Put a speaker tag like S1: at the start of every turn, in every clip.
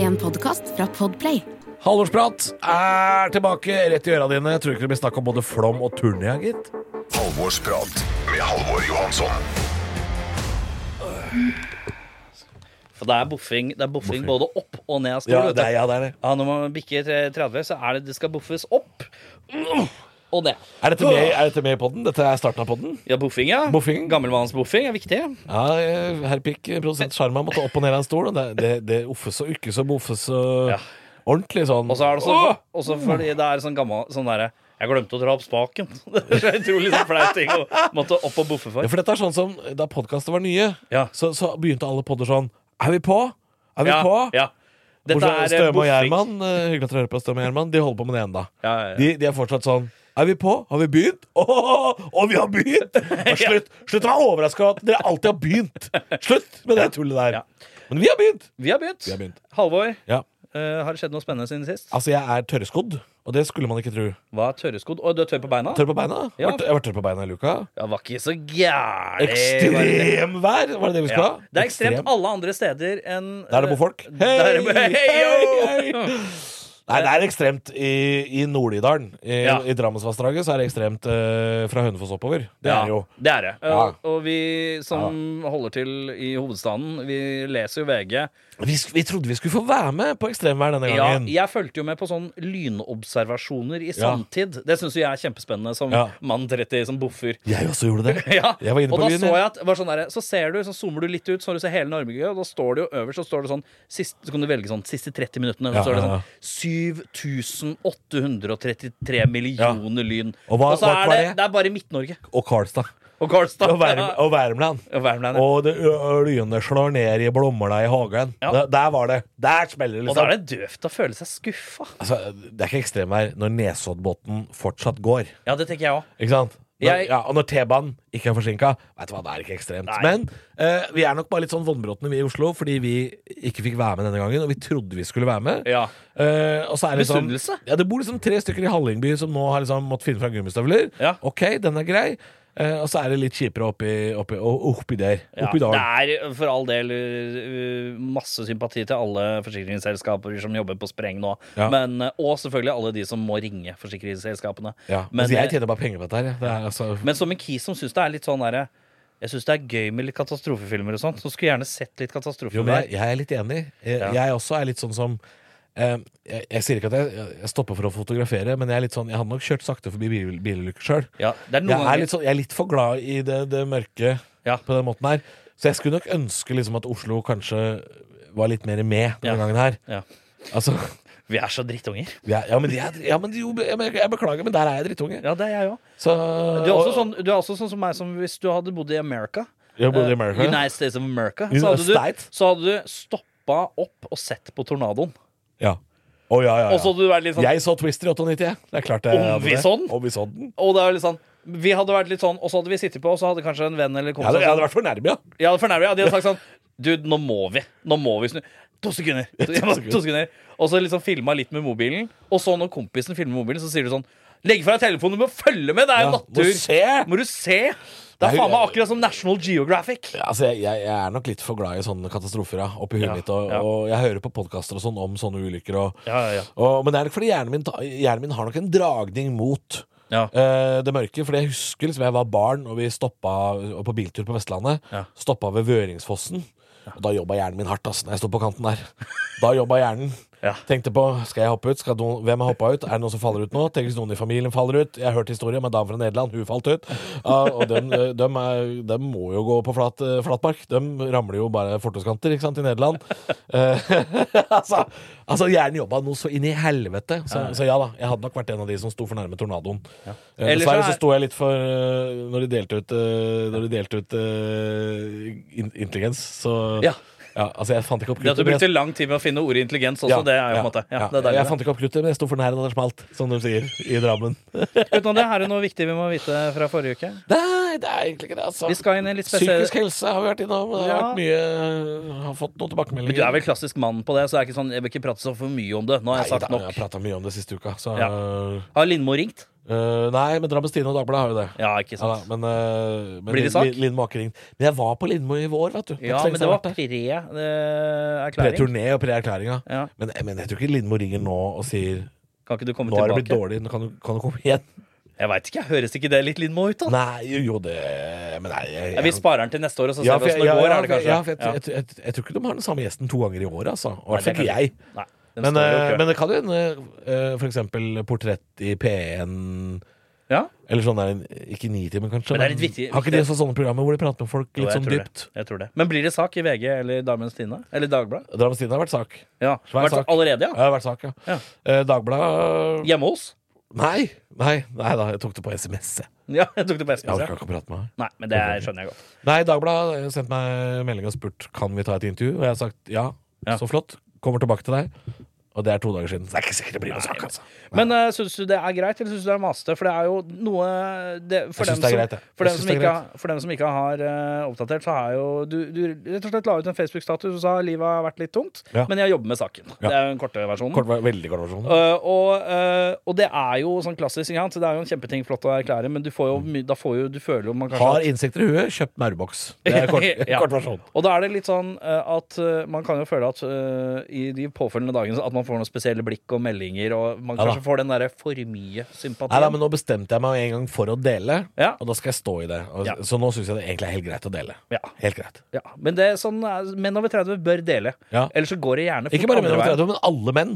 S1: En podkast fra Podplay.
S2: Halvorsprat er tilbake rett i øra dine. Jeg tror ikke det blir snakk om både flom og turnia, gitt.
S3: Halvorsprat med Halvor Johansson.
S4: For det er boffing, det er boffing
S2: Boffing.
S4: både opp og ned av stol.
S2: Ja,
S4: vet du.
S2: det er, ja, det er det.
S4: Ja, når man bikker eh, 30, så er det det skal boffes opp og ned.
S2: Er dette med, er dette med i podden? Dette er starten av podden?
S4: Ja, boffing, ja.
S2: Boffing.
S4: Gammelmannsboffing er viktig.
S2: Ja, eh, herr Pikk, produsent Sjarma, måtte opp og ned av en stol. og Det, det, det offes og ukkes og boffes og
S4: Ja.
S2: ordentlig sånn.
S4: Og så er det så,
S2: Åh!
S4: også fordi det er sånn gammel sånn derre Jeg glemte å dra opp spaken. Det er utrolig sånn flau ting å måtte opp og boffe
S2: Ja,
S4: for.
S2: for dette er sånn som da podkaster var nye,
S4: Ja.
S2: så, så begynte alle podder sånn Er vi på? Er vi
S4: Ja,
S2: på?
S4: ja. Dette
S2: Bortsett fra
S4: er eh,
S2: Støme og
S4: boffing.
S2: Gjerman, eh, hyggelig at dere hører på Støme og Gjerman, de holder på med det ennå.
S4: Ja, ja, ja.
S2: De, de er fortsatt sånn Er vi på? Har vi begynt? Åh, og vi har begynt! Ja, Slutt Slutt å være overraska at dere alltid har begynt! Slutt med det tullet der.
S4: Ja.
S2: Men vi har begynt!
S4: Vi har begynt.
S2: Vi har begynt.
S4: Halvor,
S2: Ja.
S4: eh, har det skjedd noe spennende siden sist?
S2: Altså, jeg er tørrskodd, og det skulle man ikke tro.
S4: Hva er tørreskodd? Å, du er tørr på beina?
S2: Tørr på beina?
S4: Ja.
S2: Vært- Jeg var tørr på beina i luka.
S4: Ja, var ikke så gæren.
S2: Ekstremvær! Var det det vi skulle
S4: Ja.
S2: ha?
S4: Det er ekstremt
S2: Ekstrem.
S4: alle andre steder enn eh,
S2: Der er det bofolk. Hei!
S4: Der er det- Hei, yo!
S2: Nei, det er ekstremt i, i Nord-Idalen. I,
S4: Ja.
S2: i Drammensvassdraget så er det ekstremt eh, fra Hønefoss oppover. Det er
S4: Ja,
S2: det jo.
S4: det er det.
S2: Ja.
S4: Og, og vi som holder til i hovedstaden, vi leser jo VG.
S2: Vi, sk- vi trodde vi skulle få være med på ekstremvær denne
S4: Ja,
S2: gangen.
S4: jeg fulgte jo med på sånn lynobservasjoner i sanntid. Det syns jo jeg er kjempespennende som
S2: Ja.
S4: mann 30 som boffer.
S2: Jeg også gjorde det.
S4: Ja,
S2: Jeg var inne
S4: og
S2: på
S4: da
S2: Lyn,
S4: så
S2: jeg.
S4: jeg at det var sånn der, Så ser du, så zoomer du litt ut, så du ser hele Norge, og da står det jo øverst så står det sånn sist, Så kan du velge sånn siste 30 minuttene. Så
S2: Ja,
S4: står det
S2: ja, ja.
S4: sånn 7833 millioner lyn.
S2: Og hva-
S4: så
S2: hva
S4: er
S2: var
S4: det,
S2: det?
S4: det er bare Midt-Norge.
S2: Og Karlstad.
S4: Og Karlstad.
S2: Og, Værm, og Værmland.
S4: Og Värmland, ja.
S2: Og det, ø- lynet slår ned i blomsterna i hagen.
S4: Ja.
S2: Der, der var det. Der smeller det,
S4: Og da
S2: liksom.
S4: er det døvt å føle seg skuffa.
S2: Altså, det er ikke ekstremvær når Nesoddbåten fortsatt går.
S4: Ja, det tenker jeg òg.
S2: Ikke sant? Når,
S4: Jeg-
S2: ja, og når T-banen ikke er forsinka, vet du hva, det er ikke ekstremt.
S4: Nei.
S2: Men eh, vi er nok bare litt sånn vonbrotne, vi i Oslo, fordi vi ikke fikk være med denne gangen. Og vi trodde vi skulle være med.
S4: Ja.
S2: Eh, og så er det liksom,
S4: Misunnelse?
S2: Ja, det bor liksom tre stykker i Hallingby som nå har liksom måttet finne fram gummistøvler.
S4: Ja.
S2: Ok, den er grei. Eh, og så er det litt kjipere oppi, oppi, oppi der.
S4: Ja,
S2: Oppi dalen.
S4: det er for all del uh, masse sympati til alle forsikringsselskaper som jobber på spreng nå.
S2: Ja.
S4: Men, uh, og selvfølgelig alle de som må ringe forsikringsselskapene.
S2: Ja,
S4: men, eh,
S2: men, jeg tjener bare penger på dette her. jeg. Det er, altså,
S4: men som en kis som syns det er litt sånn derre jeg syns det er gøy med litt katastrofefilmer og sånn. Så skulle jeg gjerne sett litt
S2: jo, men
S4: katastrofefilmer.
S2: jeg, jeg er litt enig. Jeg,
S4: Ja.
S2: jeg også er litt sånn som eh, jeg, jeg sier ikke at jeg, jeg stopper for å fotografere, men jeg er litt sånn Jeg hadde nok kjørt sakte forbi bil- bilulykker sjøl.
S4: Ja, det er noen
S2: Jeg, er
S4: ganger
S2: litt sånn, jeg er litt for glad i det, det mørke
S4: Ja.
S2: på den måten her. Så jeg skulle nok ønske liksom at Oslo kanskje var litt mer med denne
S4: Ja.
S2: gangen her.
S4: Ja.
S2: Altså,
S4: Vi er så drittunger.
S2: vi er, ja, men, de er, ja, men jo, jeg, jeg beklager, men der er jeg drittunge.
S4: Ja, det er jeg òg.
S2: Så,
S4: Du, er også sånn, du er også sånn som meg som hvis du hadde bodd i America.
S2: Jeg bodde i
S4: Eh,
S2: America.
S4: United States of America. Så
S2: United
S4: hadde, du,
S2: States.
S4: så hadde du stoppa opp og sett på tornadoen.
S2: Ja. Å, ja, ja,
S4: Og så
S2: ja.
S4: hadde du vært litt sånn
S2: Jeg så Twister i 98, jeg. Det er klart jeg
S4: Om
S2: hadde
S4: vi sånn?
S2: det.
S4: så den?
S2: Om vi så den.
S4: Og det er jo litt sånn vi hadde vært litt sånn, og så hadde vi sittet på, og så hadde kanskje en venn
S2: Jeg
S4: eller
S2: hadde,
S4: kompis
S2: jeg hadde vært for nærme, ja.
S4: Ja, for nærmere, ja, De hadde sagt sånn Dude, nå må vi. Nå må vi snu. To sekunder. Jeg bare, to sekunder. Og så liksom filma litt med mobilen, og så når kompisen filmer mobilen, så sier du sånn Legg fra deg telefonen, du må følge med! Det er jo
S2: Ja,
S4: natur!
S2: må se!»
S4: Må du se! Det
S2: Nei,
S4: er faen meg
S2: jeg-
S4: akkurat som National Geographic.
S2: Ja, Altså, jeg, jeg, jeg er nok litt for glad i sånne katastrofer ja, oppi huet
S4: Ja,
S2: mitt. Og,
S4: ja.
S2: og jeg hører på podkaster og sånn om sånne ulykker. Og,
S4: Ja, ja, ja.
S2: Og, men det er nok fordi hjernen min, ta- hjernen min har nok en dragning mot
S4: Ja.
S2: eh, det mørke. Fordi jeg husker liksom, jeg var barn, og vi stoppa og på biltur på Vestlandet.
S4: Ja.
S2: Stoppa ved Vøringsfossen. Og da jobba hjernen min hardt. Altså, når jeg sto på kanten der. Da jobba hjernen.
S4: Ja.
S2: Tenkte på skal jeg hoppe ut? Skal noen, hvem har hoppa ut? Er det noen som faller ut nå? Tenk hvis noen i familien faller ut. Jeg har hørt historie om en dame fra Nederland. Hun falt ut. Ja, og dem, eh, dem, er, dem må jo gå på flat, eh, flatmark. Dem ramler jo bare fortauskanter ikke sant, i Nederland. Eh, altså, altså, hjernen jobba noe så inn i helvete. Så, så ja da, jeg hadde nok vært en av de som sto for nærme tornadoen. Eh,
S4: Ellers
S2: Dessverre
S4: så er-
S2: så sto jeg litt for eh, Når de delte ut, eh, når de delte ut eh, in intelligens, så
S4: Ja.
S2: ja, altså jeg fant ikke opp
S4: Det at du
S2: men jeg-
S4: brukte lang tid med å finne ordet intelligens også, det er jo på en måte ja, det er deilig,
S2: jeg
S4: det.
S2: fant ikke opp kruttet, men jeg sto for nær da det smalt, som de sier i Drammen.
S4: Utenom det, er det noe viktig vi må vite fra forrige uke?
S2: Nei, det er egentlig ikke det, altså.
S4: Vi skal inn i en litt spesiell
S2: Psykisk helse har vi vært innom. Det har
S4: Ja.
S2: vært mye eh, Har fått noen tilbakemeldinger.
S4: Men du er vel klassisk mann på det, så jeg, er ikke sånn, jeg vil ikke prate så for mye om det. Nå har jeg
S2: Nei,
S4: sagt
S2: da,
S4: nok.
S2: Jeg har prata mye om det siste uka, så
S4: Ja. Har Lindmo ringt?
S2: Eh, nei, men Drammens Tidende og Dagbladet har jo det.
S4: Ja, ikke
S2: Ja, da,
S4: sant.
S2: men eh, men
S4: Blir det sak?
S2: Lin- Lindmo har ikke ringt. Men jeg var på Lindmo i vår, vet du.
S4: Ja, men det var eh, pre-erklæring.
S2: Pre-turné og pre-erklæringa.
S4: Ja.
S2: Men, eh, men jeg tror ikke Lindmo ringer nå og sier
S4: Kan ikke du komme
S2: Nå har det blitt
S4: tilbake?
S2: dårlig, nå kan du, kan du komme igjen?
S4: Jeg veit ikke. Høres ikke det litt Lindmo ut, da?
S2: Nei, jo, jo det Men nei jeg,
S4: Ja, Vi sparer den til neste år, og så ser
S2: Ja,
S4: vi
S2: for jeg,
S4: åssen
S2: ja,
S4: Sånn det går.
S2: ja,
S4: er
S2: for-
S4: det kanskje?
S2: ja, for jeg, jeg, jeg, jeg, tror ikke de har den samme gjesten to ganger i året, altså. Og I hvert
S4: Nei,
S2: fall
S4: det
S2: ikke
S4: kan
S2: jeg.
S4: Nei, den
S2: Men,
S4: står jo i
S2: eh,
S4: kø.
S2: men det kan jo hende eh, for eksempel portrett i P1
S4: ja?
S2: Eller sånn der, ikke Nitimen kanskje.
S4: Men det er litt viktig-
S2: Har ikke de også sånne programmer hvor de prater med folk
S4: Jo,
S2: litt
S4: jeg
S2: sånn
S4: tror
S2: dypt?
S4: Det. Jeg tror det. Men blir det sak i VG eller Damens Tine? Eller Dagbladet?
S2: Drammens Tidende har vært sak.
S4: Ja.
S2: Svær
S4: Vært
S2: sak.
S4: allerede,
S2: Ja,
S4: ja?
S2: det har vært sak, ja.
S4: Ja.
S2: Eh, Dagbladet
S4: Hjemme hos?
S2: Nei, nei, nei da, jeg tok det på SMS. jeg.
S4: Ja, jeg tok det på
S2: Jeg
S4: SMS.
S2: orka
S4: Ja.
S2: ikke å prate med deg.
S4: Nei, men det er- skjønner jeg godt.
S2: Nei, Dagbladet har sendt meg melding og spurt Kan vi ta et intervju. Og jeg har sagt ja,
S4: Ja.
S2: så flott. Kommer tilbake til deg. Og det er to dager siden. Så det er ikke sikkert det blir noe sak, altså.
S4: Men uh, syns du det er greit, eller syns du det er masete? For det er jo noe det,
S2: Jeg synes det er
S4: for, dem som,
S2: greit, jeg.
S4: for,
S2: Jeg
S4: dem
S2: synes
S4: som
S2: det er
S4: ikke, har- for dem som ikke har eh, oppdatert, så har jo du, du rett og slett la ut en Facebook-status og sa livet har vært litt tungt,
S2: Ja.
S4: men jeg jobber med saken.
S2: Ja.
S4: Det er jo den korte versjonen.
S2: Kort, veldig kort versjon.
S4: Eh, og, eh, og det er jo sånn klassisk. Ikke sant? Det er jo en kjempeting flott å erklære, men du får jo, my- da får jo, du føler jo man kanskje
S2: Mm. Har insekter i huet, kjøpt maurboks. Det er kort,
S4: Ja.
S2: kort versjon.
S4: Og da er det litt sånn eh, at eh, man kan jo føle at eh, i de påfølgende dagene at man får noen spesielle blikk og meldinger, og man
S2: Ja da.
S4: kanskje får den derre for mye
S2: Nei da,
S4: sympatien.
S2: men nå bestemte jeg meg en gang for å dele,
S4: Ja.
S2: og da skal jeg stå i det. Og,
S4: Ja.
S2: Så nå syns jeg det egentlig er helt greit å dele.
S4: Ja.
S2: Helt greit.
S4: Ja, men det er sånn eh, menn over 30 bør dele.
S2: Ja.
S4: Ellers så går det gjerne fort
S2: Ikke bare menn over
S4: andre veien.
S2: 30, men alle menn.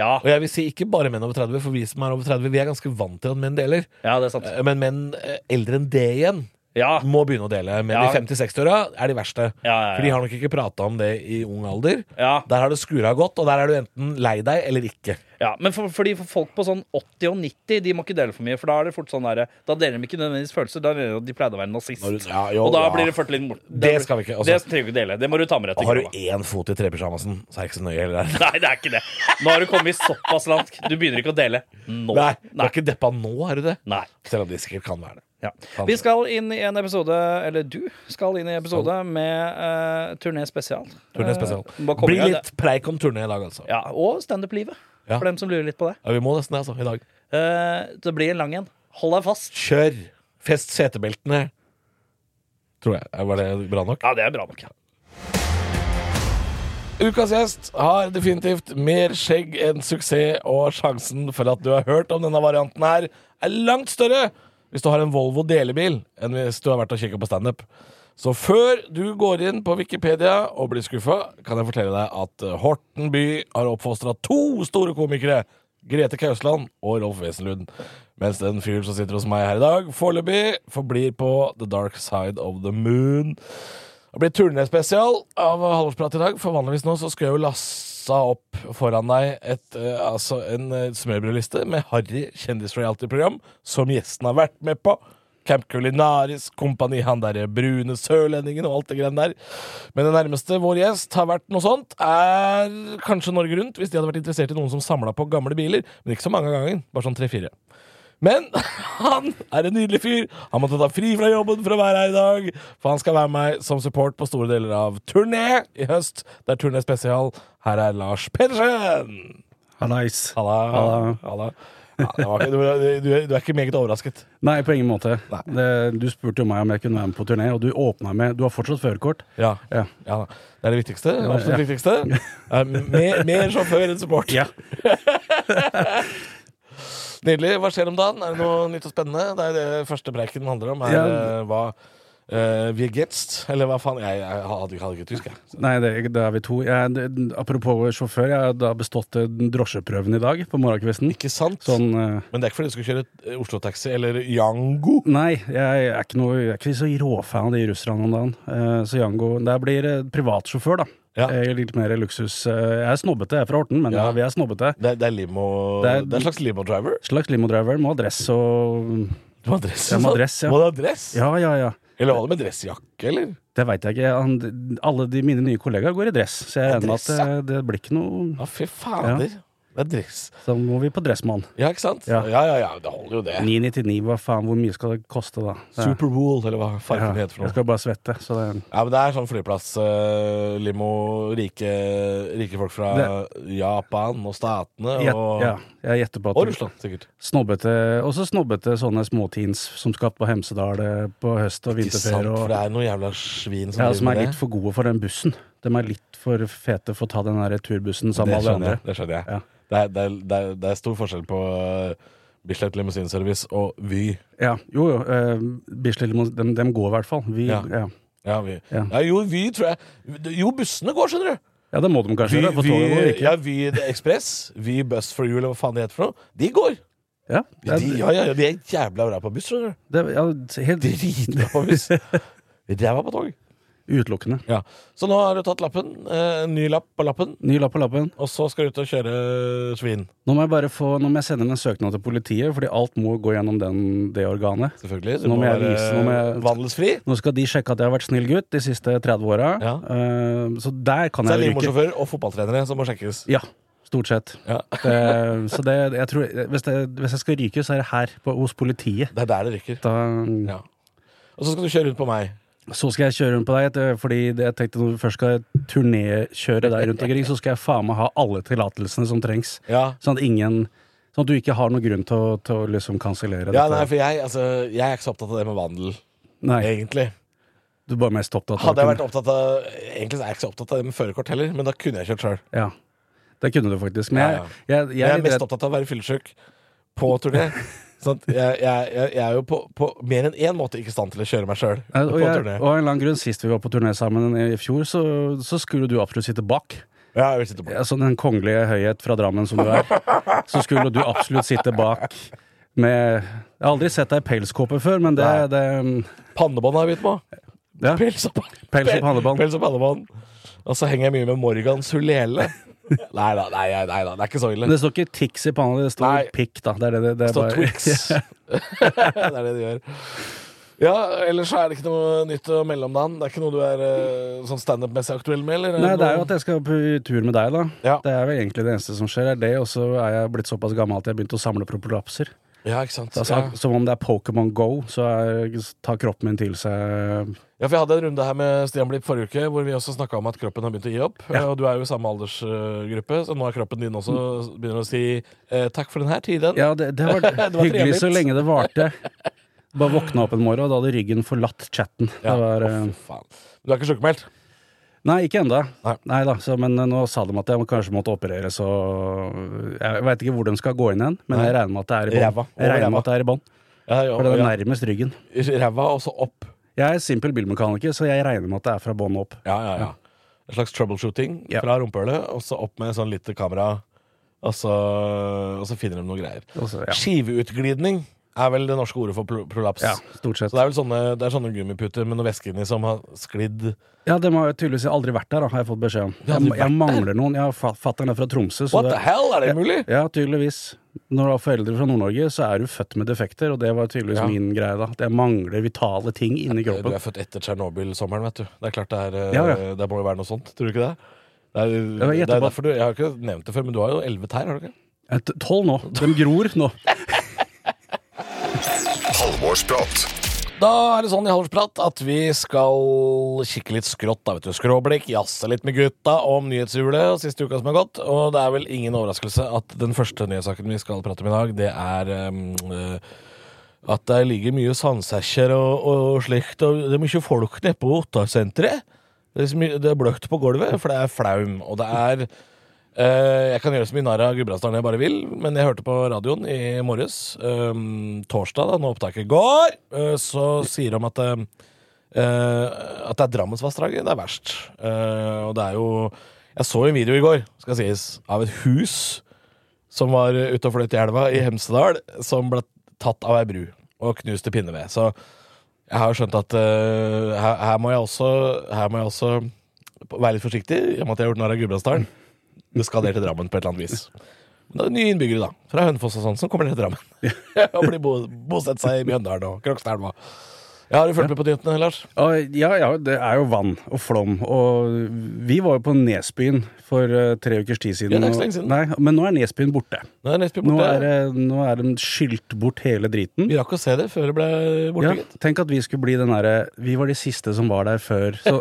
S4: Ja.
S2: Og jeg vil si ikke bare menn over 30, for vi som er over 30, vi er ganske vant til at menn deler.
S4: ja, det er sant.
S2: Eh, Men menn eh, eldre enn det igjen
S4: Ja.
S2: må begynne å dele. Men i
S4: Ja.
S2: 50-60-åra er de verste.
S4: Ja, ja, ja.
S2: For de har nok ikke prata om det i ung alder.
S4: Ja,
S2: Der har det skura godt, og der er du enten lei deg eller ikke.
S4: ja. Men for, fordi for folk på sånn 80 og 90 De må ikke dele for mye, for da er det fort sånn der, Da deler de ikke nødvendigvis følelser. Da deler de at de pleide å være nazist.
S2: Når du- ja, jo,
S4: og da
S2: ja.
S4: blir det fort litt mort.
S2: Det skal vi ikke, altså.
S4: Det trenger du ikke dele. Det må du ta med deg
S2: Og
S4: til
S2: har
S4: grava.
S2: du én fot i trepysjamasen, så er det ikke så nøye heller.
S4: Nei, det er ikke det. Nå har du kommet såpass langt. Du begynner ikke å dele nå.
S2: Nei, du
S4: Nei.
S2: er ikke deppa nå, er du det?
S4: Nei.
S2: Selv om det sikkert kan være det.
S4: Ja.
S2: Kan-
S4: Vi skal inn i en episode, eller du skal inn i en episode, med eh, Turné spesial.
S2: Turné spesial.
S4: Eh, bare komme i
S2: Blir
S4: gang.
S2: litt preik om turné i dag, altså. Ja.
S4: Ja, og standup-livet.
S2: Ja.
S4: For dem som lurer litt på det.
S2: vi må nesten det, altså. I dag.
S4: Eh, det blir en lang en. Hold deg fast.
S2: Kjør! Fest setebeltene. Tror jeg. Var det bra nok?
S4: Ja, det er bra nok.
S2: Ukas gjest har definitivt mer skjegg enn suksess, og sjansen for at du har hørt om denne varianten her, er langt større hvis du har en Volvo delebil enn hvis du har vært og kikket på standup. Så før du går inn på Wikipedia og blir skuffa, kan jeg fortelle deg at Horten by har oppfostra to store komikere. Grete Kausland og Rolf Wesenlund. Mens den fyren som sitter hos meg her i dag, foreløpig forblir på The Dark Side of the Moon. Det blir turnéspesial av Halvorsprat i dag, for vanligvis nå så skulle jeg jo lassa opp foran deg et, eh, altså en eh, smørbrødliste med harry kjendis-reality-program som gjesten har vært med på. Camp Culinaris, Kompani han derre brune sørlendingen og alt det greiene der. Men det nærmeste vår gjest har vært noe sånt, er kanskje Norge Rundt, hvis de hadde vært interessert i noen som samla på gamle biler. Men ikke så mange av gangen, bare sånn tre-fire. Men han er en nydelig fyr. Han måtte ta fri fra jobben for å være her i dag. For han skal være med meg som support på store deler av turné i høst. Det er turné spesial. Her er Lars Pedersen!
S5: Hallais.
S2: Halla.
S5: Halla.
S2: Halla. Ja, det var, ikke- du, du, du er ikke meget overrasket.
S5: Nei, på ingen måte.
S2: Nei.
S5: Det, du spurte jo meg om jeg kunne være med på turné, og du åpna med Du har fortsatt førerkort.
S2: Ja.
S5: Ja.
S2: ja da. Det er det viktigste. Det absolutt
S5: Ja.
S2: viktigste. Eh, Mer, mer sjåfør enn support.
S5: Ja.
S2: Nydelig. Hva skjer om dagen? Er det noe nytt og spennende? Det er det første preiken handler om. Er
S5: Ja.
S2: eh, hva uh, Vi getst? Eller hva faen? Jeg, jeg hadde, hadde ikke tysk, jeg.
S5: Nei, det, det er vi to. Jeg, det, apropos sjåfør, jeg har da bestått eh, drosjeprøven i dag på morgenkvisten.
S2: Ikke sant?
S5: Sånn eh,
S2: Men det er ikke fordi du skal kjøre eh, Oslo-taxi eller Yango.
S5: Nei, jeg er ikke, noe, jeg er ikke så råfan av de russerne om dagen. Eh, så Jango Der blir eh, privatsjåfør, da.
S2: Ja.
S5: Eh, litt mer luksus. Eh, jeg er snobbete, jeg er fra Horten, men
S2: Ja.
S5: ja. vi er snobbete.
S2: Det, er- det er limo Det er,
S5: Det er-
S2: en slags limo-driver.
S5: Slags limodriver må ha dress og
S2: Du må ha dress.
S5: Jeg må ha
S2: sånn.
S5: dress, ja.
S2: Må du ha dress?
S5: Ja, ja, ja.
S2: Eller var det med dressjakke, eller?
S5: Det veit jeg ikke. Han, alle de, mine nye kollegaer går i dress, så jeg
S2: Ja,
S5: regner med
S2: dress,
S5: at
S2: ja.
S5: eh, det blir ikke noe
S2: Ja, fy fader. Det Det er dress.
S5: Så må vi på Dressmann.
S2: Ja, ikke sant? Ja,
S5: Ja.
S2: ja, ja, det holder jo det.
S5: 999, hva faen, hvor mye skal det koste, da? Det-
S2: Superwool, eller hva
S5: ja,
S2: fargen heter for
S5: jeg
S2: noe.
S5: skal bare svette, så det er
S2: Ja, men Det er sånn flyplasslimo, rike, rike folk fra Japan og statene
S5: Gjet-
S2: og,
S5: ja, jeg gjetter på at
S2: og Russland, sikkert.
S5: Snobbete, også snobbete sånne småteens som skal på Hemsedal eh, på høst- og
S2: Ikke sant,
S5: vinterferie.
S2: for
S5: Og,
S2: det er noen jævla svin som
S5: ja, som
S2: driver
S5: er
S2: med
S5: litt for gode for den bussen. De er litt for fete for å ta den der turbussen sammen
S2: det.
S5: med alle
S2: skjønner
S5: andre.
S2: jeg. Det skjønner jeg.
S5: Ja.
S2: Det, er, det, er, det, er, det er stor forskjell på uh, Bislett Limousinservice og Vy.
S5: Ja, jo, jo. Eh, Bislett Limous- dem, dem går i hvert fall. Vi,
S2: Ja.
S5: ja. Ja.
S2: Ja, Vy.
S5: Ja.
S2: Ja, jo, Vy tror jeg Jo, bussene går, skjønner du.
S5: det må de kanskje
S2: Vy,
S5: gjøre, for
S2: Vy,
S5: toget går ikke.
S2: ja, Vy Ekspress, Vy Buss for You, eller hva faen det heter for noe. De går.
S5: Ja, det,
S2: De, ja, ja, ja, de er jævla bra på buss, skjønner du.
S5: det, ja, helt
S2: Dritbra på buss. Ræva på tog.
S5: utelukkende.
S2: Ja. Så nå har du tatt lappen. Eh, ny lapp på lappen.
S5: Ny lapp på lappen.
S2: Og så skal du ut og kjøre svin.
S5: Nå må jeg bare få, nå må jeg sende inn en søknad til politiet, fordi alt må gå gjennom den, det organet.
S2: Selvfølgelig.
S5: Nå må jeg vise- nå må jeg-
S2: vandelsfri.
S5: Nå skal de sjekke at jeg har vært snill gutt de siste 30 åra.
S2: Ja.
S5: Eh, så der kan
S2: Så er det
S5: jeg jo ryke.
S2: limorsjåfører og fotballtrenere som må sjekkes.
S5: Ja, stort sett.
S2: Ja.
S5: Eh, så det, jeg tror, hvis, det, hvis jeg skal ryke, så er det her, på, hos politiet.
S2: Det er der det rykker.
S5: Da,
S2: Ja. Og så skal du kjøre rundt på meg.
S5: Så skal jeg kjøre rundt på deg, etter- fordi det, jeg tenkte når vi først skal turnékjøre deg rundt omkring, så skal jeg faen meg ha alle tillatelsene som trengs.
S2: Ja.
S5: Sånn at ingen Sånn at du ikke har noen grunn til å, til å liksom kansellere
S2: Ja,
S5: dette.
S2: nei, for jeg, altså, jeg er ikke så opptatt av det med vandel,
S5: Nei,
S2: egentlig.
S5: du er bare mest opptatt av å
S2: Hadde jeg
S5: kunne-
S2: vært opptatt av Egentlig så er jeg ikke så opptatt av det med førerkort heller, men da kunne jeg kjørt sjøl.
S5: Ja. Det kunne du faktisk. Men
S2: Ja,
S5: jeg,
S2: ja.
S5: jeg, jeg,
S2: Jeg er
S5: jeg,
S2: mest opptatt av å være fyllesyk på turné. Sånn at jeg, jeg, jeg, jeg er jo på, på mer enn én måte ikke i stand til å kjøre meg sjøl på
S5: Ja, og, jeg,
S2: turné.
S5: og av en eller annen grunn, sist vi var på turné sammen i fjor, så, så skulle du absolutt sitte bak.
S2: Ja, jeg vil sitte på.
S5: Altså den kongelige høyhet fra Drammen som du er, så skulle du absolutt sitte bak med Jeg har aldri sett deg i pelskåpe før, men det,
S2: Nei.
S5: det
S2: Pannebånd har jeg begynt på.
S5: Ja.
S2: Pels og pan-
S5: Pels og pannebånd.
S2: Pels og pannebånd. Og så henger jeg mye med Morgans hulele. nei da, nei, nei, nei da, det er ikke så ille.
S5: Men det står ikke Tix i panna, det står
S2: Nei.
S5: pikk, da. Det er det det, det
S2: Det
S5: er
S2: står
S5: bare-
S2: Twix. det er det de gjør. Ja, ellers så er det ikke noe nytt å melde om dagen. Det er ikke noe du er eh, sånn standup-messig aktuell med, eller?
S5: Nei, det er jo at jeg skal på tur med deg, da.
S2: Ja.
S5: Det er vel egentlig det eneste som skjer. er det, Og så er jeg blitt såpass gammel at jeg begynte å samle propolapser.
S2: Ja, ikke sant.
S5: Altså,
S2: ja.
S5: Som om det er Pokémon Go, så er, tar kroppen min til seg eh,
S2: Ja, for Jeg hadde en runde her med Stian Blipp forrige uke, hvor vi også snakka om at kroppen har begynt å gi opp. Og du er jo i samme aldersgruppe, så nå er kroppen din også begynner å si eh, takk for denne tiden.
S5: Ja, det, det var,
S2: var
S5: hyggelig så
S2: trevligt.
S5: lenge det varte. Bare våkna opp en morgen, og da hadde ryggen forlatt chatten.
S2: Ja,
S5: Det var,
S2: å,
S5: eh,
S2: fy faen. Du er ikke sjukmeldt?
S5: nei, ikke ennå.
S2: Nei.
S5: da, så, men eh, nå sa de at jeg må- kanskje måtte opereres og Jeg veit ikke hvor de skal gå inn igjen, men jeg regner med at det er i
S2: Ræva.
S5: bånn.
S2: Over
S5: Jeg regner med
S2: ræva.
S5: at det er i bånn,
S2: Ja, ja,
S5: for det er
S2: ja.
S5: nærmest ryggen.
S2: Ræva og så opp.
S5: Jeg er simpel bilmekaniker, så jeg regner med at det er fra bånn opp.
S2: Ja, ja, ja. En slags troubleshooting
S5: Ja.
S2: fra rumpehullet, og så opp med sånn lite kamera, og så, og så finner de noe greier.
S5: Og så, ja.
S2: Skiveutglidning er vel det norske ordet for pro- prolaps.
S5: ja, stort sett.
S2: Så det er vel sånne, det er sånne gummiputer med noe væske inni som har sklidd
S5: Ja, De har jo tydeligvis aldri vært der, da, har jeg fått beskjed om.
S2: har aldri
S5: Jeg, jeg mangler noen. Jeg har fa- Fatteren er fra Tromsø. Så
S2: What
S5: det,
S2: the hell, er det mulig?
S5: Ja, tydeligvis. Når du har foreldre fra Nord-Norge, så er du født med defekter, og det var tydeligvis
S2: Ja.
S5: min greie da. Det mangler vitale ting inni
S2: Du
S5: kroppen.
S2: er født etter Tsjernobyl-sommeren, vet du. Det er klart det er eh,
S5: Ja, ja.
S2: Det må jo være noe sånt, tror du ikke det? Det er, det
S5: var
S2: er
S5: etterpå.
S2: derfor du Jeg har ikke nevnt det før, men du har jo elleve tær, har du ikke?
S5: Jeg er Eh, t- Tolv nå. De gror nå.
S3: Halvorsprat.
S2: Da er det sånn i Halvorsprat at vi skal kikke litt skrått, da, vet du. Skråblikk, jazze litt med gutta om nyhetshjulet og siste uka som har gått. Og det er vel ingen overraskelse at den første nyhetssaken vi skal prate om i dag, det er ehm, eh, at det ligger mye sandsekker og, og slikt, og det er mye folk nede på Ottar-senteret. Det, er så mye- det er bløkt på gulvet, for det er flaum, og det er Eh, jeg kan gjøre så mye narr av Gudbrandsdalen jeg bare vil, men jeg hørte på radioen i morges, eh, torsdag, da når opptaket går, eh, så sier de at, eh, eh, at det er Drammensvassdraget det er verst. Eh, og det er jo Jeg så en video i går, skal sies, av et hus som var ute og fløt i elva i Hemsedal, som ble tatt av ei bru og knust til pinneved. Så jeg har skjønt at eh, her, her må jeg også, her må jeg også være litt forsiktig, i og med at jeg har gjort narr av Gudbrandsdalen. Det skal dere til Drammen på et eller annet vis. Men det er nye innbyggere, da. Fra Hønefoss og sånn, som kommer dere til Drammen. og blir bo bosatt seg i Mjøndalen og Krokstadelva. Ja, Har du fulgt med på nyhetene, Lars?
S5: Og, ja, ja, det er jo vann og flom. Og vi var jo på Nesbyen for eh, tre ukers tid siden.
S2: Ja, det er ikke så
S5: og-
S2: lenge siden.
S5: Nei, men nå er Nesbyen borte.
S2: Nei, Nesbø
S5: Nå
S2: borte.
S5: er, det- nå er den skylt bort hele driten.
S2: Vi rakk å se det før det ble borte,
S5: Ja,
S2: gitt.
S5: tenk at vi skulle bli den derre Vi var de siste som var der før. Så,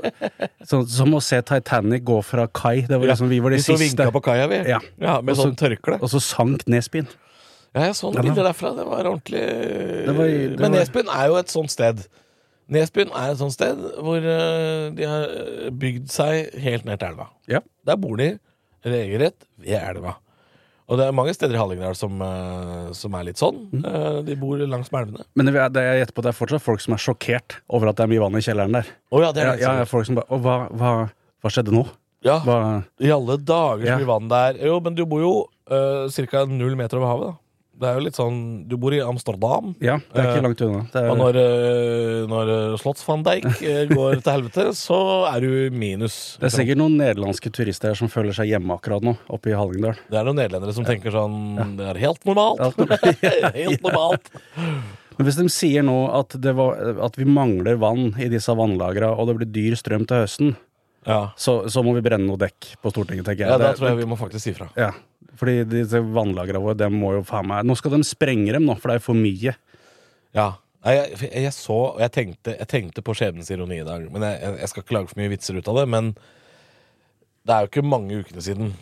S5: så, som å se Titanic gå fra kai. Det var liksom, vi var de
S2: Vi så
S5: siste.
S2: vinka på kaia, vi.
S5: Ja.
S2: med
S5: Og så-
S2: sånn tørkle.
S5: Og så sank Nesbyen.
S2: Ja, jeg så noen
S5: Ja, da.
S2: bilder derfra. Det var ordentlig
S5: Det var- det
S2: Men
S5: var-
S2: Nesbyen er jo et sånt sted. Nesbyen er et sånt sted hvor eh, de har bygd seg helt ned til elva.
S5: Ja.
S2: Der bor de regelrett ved elva. Og det er mange steder i Hallingdal som, eh, som er litt sånn.
S5: Mm.
S2: Eh, De bor langs med elvene.
S5: Men det, det jeg gjetter på, det er fortsatt folk som er sjokkert over at det er mye vann i kjelleren der.
S2: Å ja, det er
S5: Ja,
S2: det
S5: ja,
S2: sikkert.
S5: folk som bare Å, hva, hva, hva skjedde nå?
S2: Ja.
S5: Hva
S2: I alle dager så
S5: Ja.
S2: mye vann der. Jo, men du bor jo uh, ca. null meter over havet, da. Det er jo litt sånn Du bor i Amsterdam.
S5: Ja, det er
S2: Eh,
S5: ikke langt unna. Det er,
S2: Og når, eh, når eh, Slotts van Dijk eh, går til helvete, så er du minus.
S5: det er sikkert noen nederlandske turister her som føler seg hjemme akkurat nå, oppe i Hallingdal.
S2: Det er noen nederlendere som tenker sånn Det er helt normalt.
S5: Alt mulig.
S2: helt normalt.
S5: Men hvis de sier nå at, det var, at vi mangler vann i disse vannlagra, og det blir dyr strøm til høsten,
S2: Ja.
S5: så, så må vi brenne noe dekk på Stortinget, tenker jeg.
S2: ja, da
S5: Det-
S2: tror jeg vi må faktisk si fra.
S5: ja. Fordi disse vannlagra våre, det må jo faen meg Nå skal de sprenge dem, nå, for det er for mye.
S2: Ja. Nei, jeg, for jeg så og jeg tenkte, jeg tenkte på skjebnens ironi i dag. Men jeg, jeg- jeg skal ikke lage for mye vitser ut av det. Men det er jo ikke mange ukene siden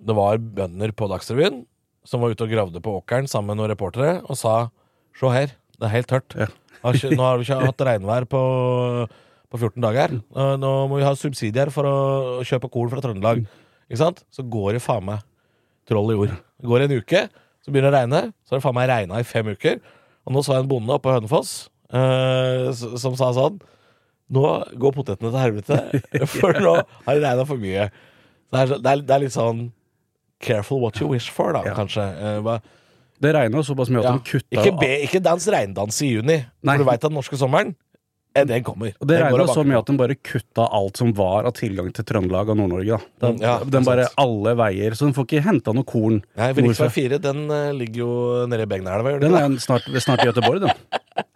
S2: det var bønder på Dagsrevyen som var ute og gravde på åkeren sammen med noen reportere og sa Se her, det er helt tørt.
S5: Ja.
S2: Har ikke, nå har vi ikke hatt regnvær på, på 14 dager. Eh, Nå må vi ha subsidier for å kjøpe korn fra Trøndelag. Ikke sant? Så går det faen meg troll i jord. Det går en uke, så begynner det å regne. Så har det faen meg regna i fem uker. Og nå så jeg en bonde oppe på Hønefoss eh, s- som sa sånn Nå går potetene til helvete, for nå har det regna for mye. Så det, er, så- det, er, det er litt sånn Careful what you wish for, da,
S5: Ja.
S2: kanskje. Eh, hva-
S5: Det regna såpass mye at
S2: ja.
S5: de kutta
S2: ikke, be, ikke dans regndans i juni,
S5: Nei.
S2: for du veit at den norske sommeren eh, den kommer.
S5: Og det
S2: Den går
S5: regna
S2: av
S5: så
S2: bakken.
S5: mye at de bare kutta alt som var av tilgang til Trøndelag og Nord-Norge. da. De,
S2: Mm, ja,
S5: de bare
S2: sant.
S5: alle veier, så de får ikke henta noe korn.
S2: Nei, for
S5: nordfra.
S2: Riksvei 4 den eh, ligger jo nede i Begnaelva, gjør den
S5: Den
S2: ikke det?
S5: er snart, snart i Gøteborg, den.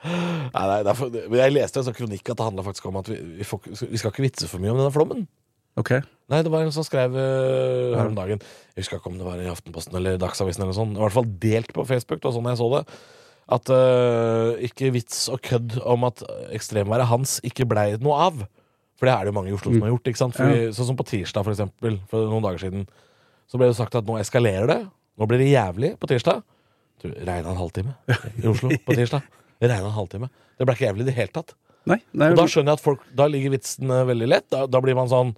S2: Nei, nei, derfor, men jeg leste en sånn kronikk at det handla faktisk om at vi, vi, får, ikke- vi skal ikke vitse for mye om denne flommen.
S5: Ok.
S2: Nei, det var en som skrev eh, her om dagen Jeg husker ikke om det var i Aftenposten eller Dagsavisen eller noe sånt. I hvert fall delt på Facebook, det var sånn jeg så det. At eh, ikke vits og kødd om at ekstremværet hans ikke blei noe av. For det er det jo mange i Oslo som har gjort. ikke sant? Fordi, Sånn som på tirsdag, for eksempel, for noen dager siden. Så ble det sagt at nå eskalerer det. Nå blir det jævlig på tirsdag. Du, Regna en halvtime i Oslo på tirsdag. Regna en halvtime. Det ble ikke jævlig i det hele tatt.
S5: Nei, nei,
S2: Og da skjønner jeg at folk, da ligger vitsen eh, veldig lett. Da, da blir man sånn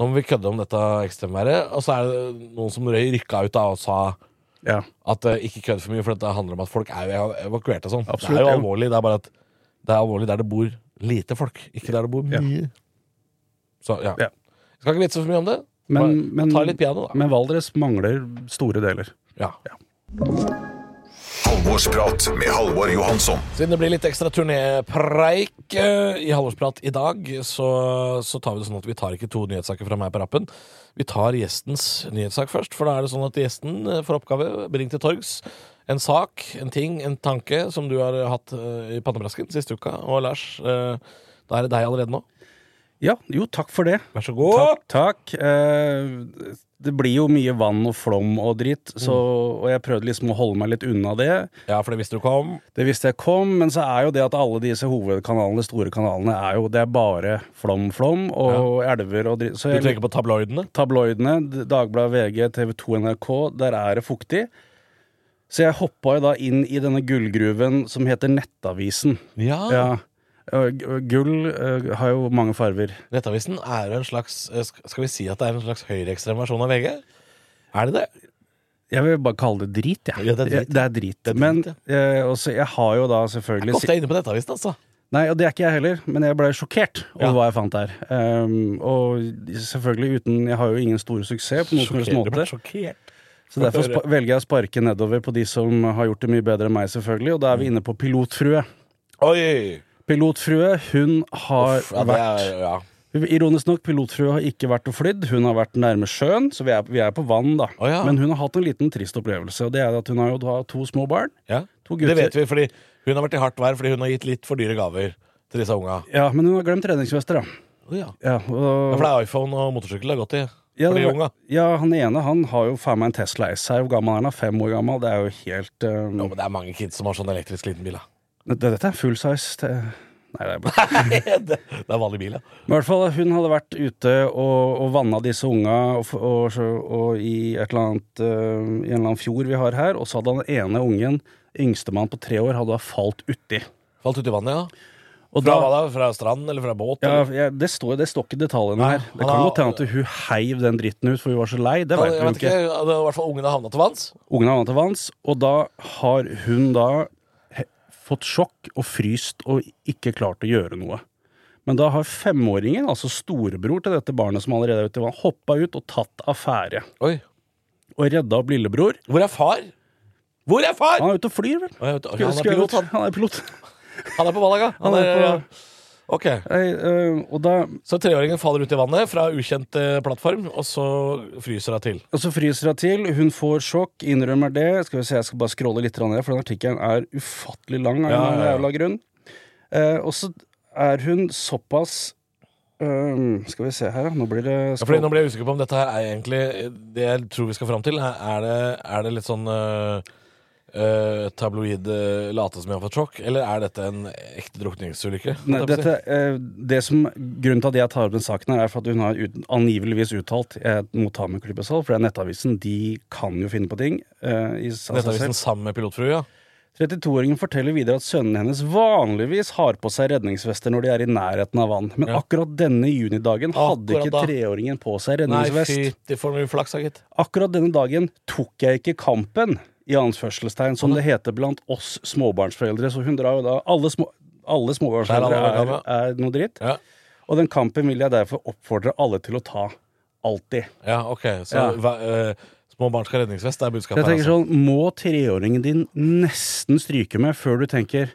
S2: Nå må vi kødde om dette ekstremværet. Og så er det noen som røy rykka ut da og sa
S5: ja.
S2: at eh, ikke kødd for mye, for dette handler om at folk er jo evakuert og sånn. Det
S5: Absolutt,
S2: er jo
S5: ja.
S2: alvorlig. Det er bare at det er alvorlig der det bor lite folk, ikke der det bor
S5: Ja.
S2: mye. Så ja.
S5: Ja.
S2: Jeg skal ikke vitse for mye om det.
S5: Men,
S2: Bare
S5: men,
S2: ta litt piano, da.
S5: men Valdres mangler store deler.
S2: Ja.
S3: Halvorsprat med Halvor Johansson.
S2: Siden det blir litt ekstra turnépreik eh, i Halvorsprat i dag, så, så tar vi det sånn at vi tar ikke to nyhetssaker fra meg på rappen. Vi tar gjestens nyhetssak først, for da er det sånn at gjesten eh, får oppgave, bring til torgs, en sak, en ting, en tanke som du har hatt eh, i pannebrasken siste uka. Og Lars, eh, da er det deg allerede nå.
S5: Ja, jo, takk for det.
S2: Vær så
S5: Takk, takk. Eh, det blir jo mye vann og flom og dritt, så,
S2: Mm.
S5: og jeg prøvde liksom å holde meg litt unna det.
S2: Ja, for det visste du kom.
S5: Det visste jeg kom, men så er jo det at alle disse hovedkanalene, store kanalene, er jo, det er bare flom, flom og elver og dritt. Så
S2: Du
S5: jeg-
S2: tenker på tabloidene?
S5: tabloidene, Dagbladet, VG, TV 2, NRK, der er det fuktig. Så jeg hoppa jo da inn i denne gullgruven som heter Nettavisen.
S2: Ja.
S5: Ja. øh, g- Gull øh, har jo mange farver.
S2: Nettavisen er jo en slags eh, sk- Skal vi si at det er en slags høyreekstrem versjon av VG? Er det det?
S5: Jeg vil bare kalle det drit, jeg.
S2: Ja, det er drit.
S5: Det er drit.
S2: Det er drit,
S5: men
S2: ja.
S5: eh, også, jeg har jo da
S2: Jeg
S5: selvfølgelig
S2: er ikke ofte inne på Nettavisen, altså.
S5: Nei, og det er ikke jeg heller, men jeg ble sjokkert over
S2: Ja.
S5: hva jeg fant der. Ehm, og selvfølgelig uten Jeg har jo ingen stor suksess på noen som helst måte.
S2: sjokkert.
S5: Så derfor
S2: Høre.
S5: spa- velger jeg å sparke nedover på de som har gjort det mye bedre enn meg, selvfølgelig. Og da er
S2: Mm.
S5: vi inne på pilotfrue.
S2: Oi!
S5: Pilotfrue, hun har
S2: Uff, ja, det
S5: vært
S2: er, ja.
S5: Ironisk nok, pilotfrue har ikke vært og flydd. Hun har vært nærme sjøen, så vi er, vi er på vann, da.
S2: Å, ja.
S5: Men hun har hatt en liten trist opplevelse, og det er at hun har jo da to små barn.
S2: Ja.
S5: To gutter.
S2: Det vet vi, fordi hun har vært i hardt vær fordi hun har gitt litt for dyre gaver til disse unga.
S5: Ja, men hun har glemt redningsvester, da.
S2: Å Ja. Ja,
S5: Ja, og,
S2: for det er iPhone og motorsykkel det er godt i.
S5: ja,
S2: for de
S5: det-
S2: unga.
S5: ja, han ene han har jo faen meg en Tesla S her. Hvor gammel er han? da? Fem år gammel? Det er jo helt eh,
S2: Jo, men det er mange kids som har sånn elektrisk liten bil. da.
S5: det- Dette er full size. Det, nei, det er bare
S2: det, det er vanlig bil, ja.
S5: Men i hvert fall, hun hadde vært ute og, og vanna disse unga og, f- og, så- og i, et eller annet, eh, i en eller annen fjord vi har her, og så hadde den ene ungen, yngstemann på tre år, hadde da falt uti.
S2: Falt uti vannet, ja.
S5: Og
S2: Fra,
S5: da,
S2: hva da? Fra strand eller fra båt?
S5: ja,
S2: eller?
S5: ja, det, står, det står ikke detaljene
S2: Nei,
S5: her. Det
S2: han
S5: kan
S2: har-
S5: godt hende at hun heiv den dritten ut, for hun var så lei. Det
S2: Ja,
S5: vet
S2: jeg
S5: hun
S2: vet ikke.
S5: ikke.
S2: ja, Det var i hvert fall ungene havna til vanns.
S5: Ungen har vannet til vanns, og da har hun da he- fått sjokk og fryst og ikke klart å gjøre noe. Men da har femåringen, altså storebror til dette barnet som allerede er ute i vann, hoppa ut og tatt affære.
S2: Oi.
S5: Og redda opp lillebror.
S2: Hvor er far? Hvor er far?
S5: Han er ute og flyr, vel.
S2: Å, jeg vet-
S5: Skulle-
S2: Han er
S5: skulle-
S2: pilot, han.
S5: Han er pilot.
S2: Han er på Malaga.
S5: Han er på-
S2: Ok,
S5: Nei, øh, og da
S2: Så treåringen faller ut i vannet fra ukjent eh, plattform, og så fryser hun til.
S5: og så fryser hun til. Hun får sjokk, innrømmer det. Skal vi se, Jeg skal bare scrolle litt grann ned, for den artikkelen er ufattelig lang. av en
S2: Ja,
S5: eller
S2: ja, ja.
S5: annen jævla grunn. Eh, og så er hun såpass øh, Skal vi se her, ja. Nå blir det
S2: Ja, fordi nå blir jeg usikker på om dette her er egentlig Det jeg tror vi skal fram til, er- er det, er det litt sånn øh, øh, tabloid øh, late som jeg har fått sjokk, eller er dette en ekte drukningsulykke?
S5: Nei,
S2: holdt jeg på å si?
S5: dette, eh, det som, grunnen til at jeg tar opp den saken, her er for at hun har ut, angiveligvis uttalt eh, Jeg må ta med en klype salt, for det er Nettavisen. De kan jo finne på ting. Eh, i, av seg selv.
S2: Nettavisen sammen med pilotfrua.
S5: 32-åringen forteller videre at sønnen hennes vanligvis har på seg redningsvester når de er i nærheten av vann, men
S2: Ja.
S5: akkurat denne junidagen hadde
S2: Akkurat
S5: ikke
S2: da.
S5: treåringen på seg
S2: Nei,
S5: redningsvest.
S2: fy, det får mye flaks, da, gitt.
S5: Akkurat denne dagen tok jeg ikke kampen, i anførselstegn, som det heter blant oss småbarnsforeldre. Så hun drar jo da Alle, små,
S2: Der
S5: alle
S2: er alle
S5: småbarnsforeldre
S2: gamle.
S5: er, er noe dritt.
S2: Ja.
S5: Og den kampen vil jeg derfor oppfordre alle til å ta. Alltid.
S2: ja, ok. Så
S5: Ja.
S2: hva- øh, små barn skal ha redningsvest, det er budskapet
S5: Jeg
S2: her.
S5: tenker
S2: Altså.
S5: sånn, Må treåringen din nesten stryke med før du tenker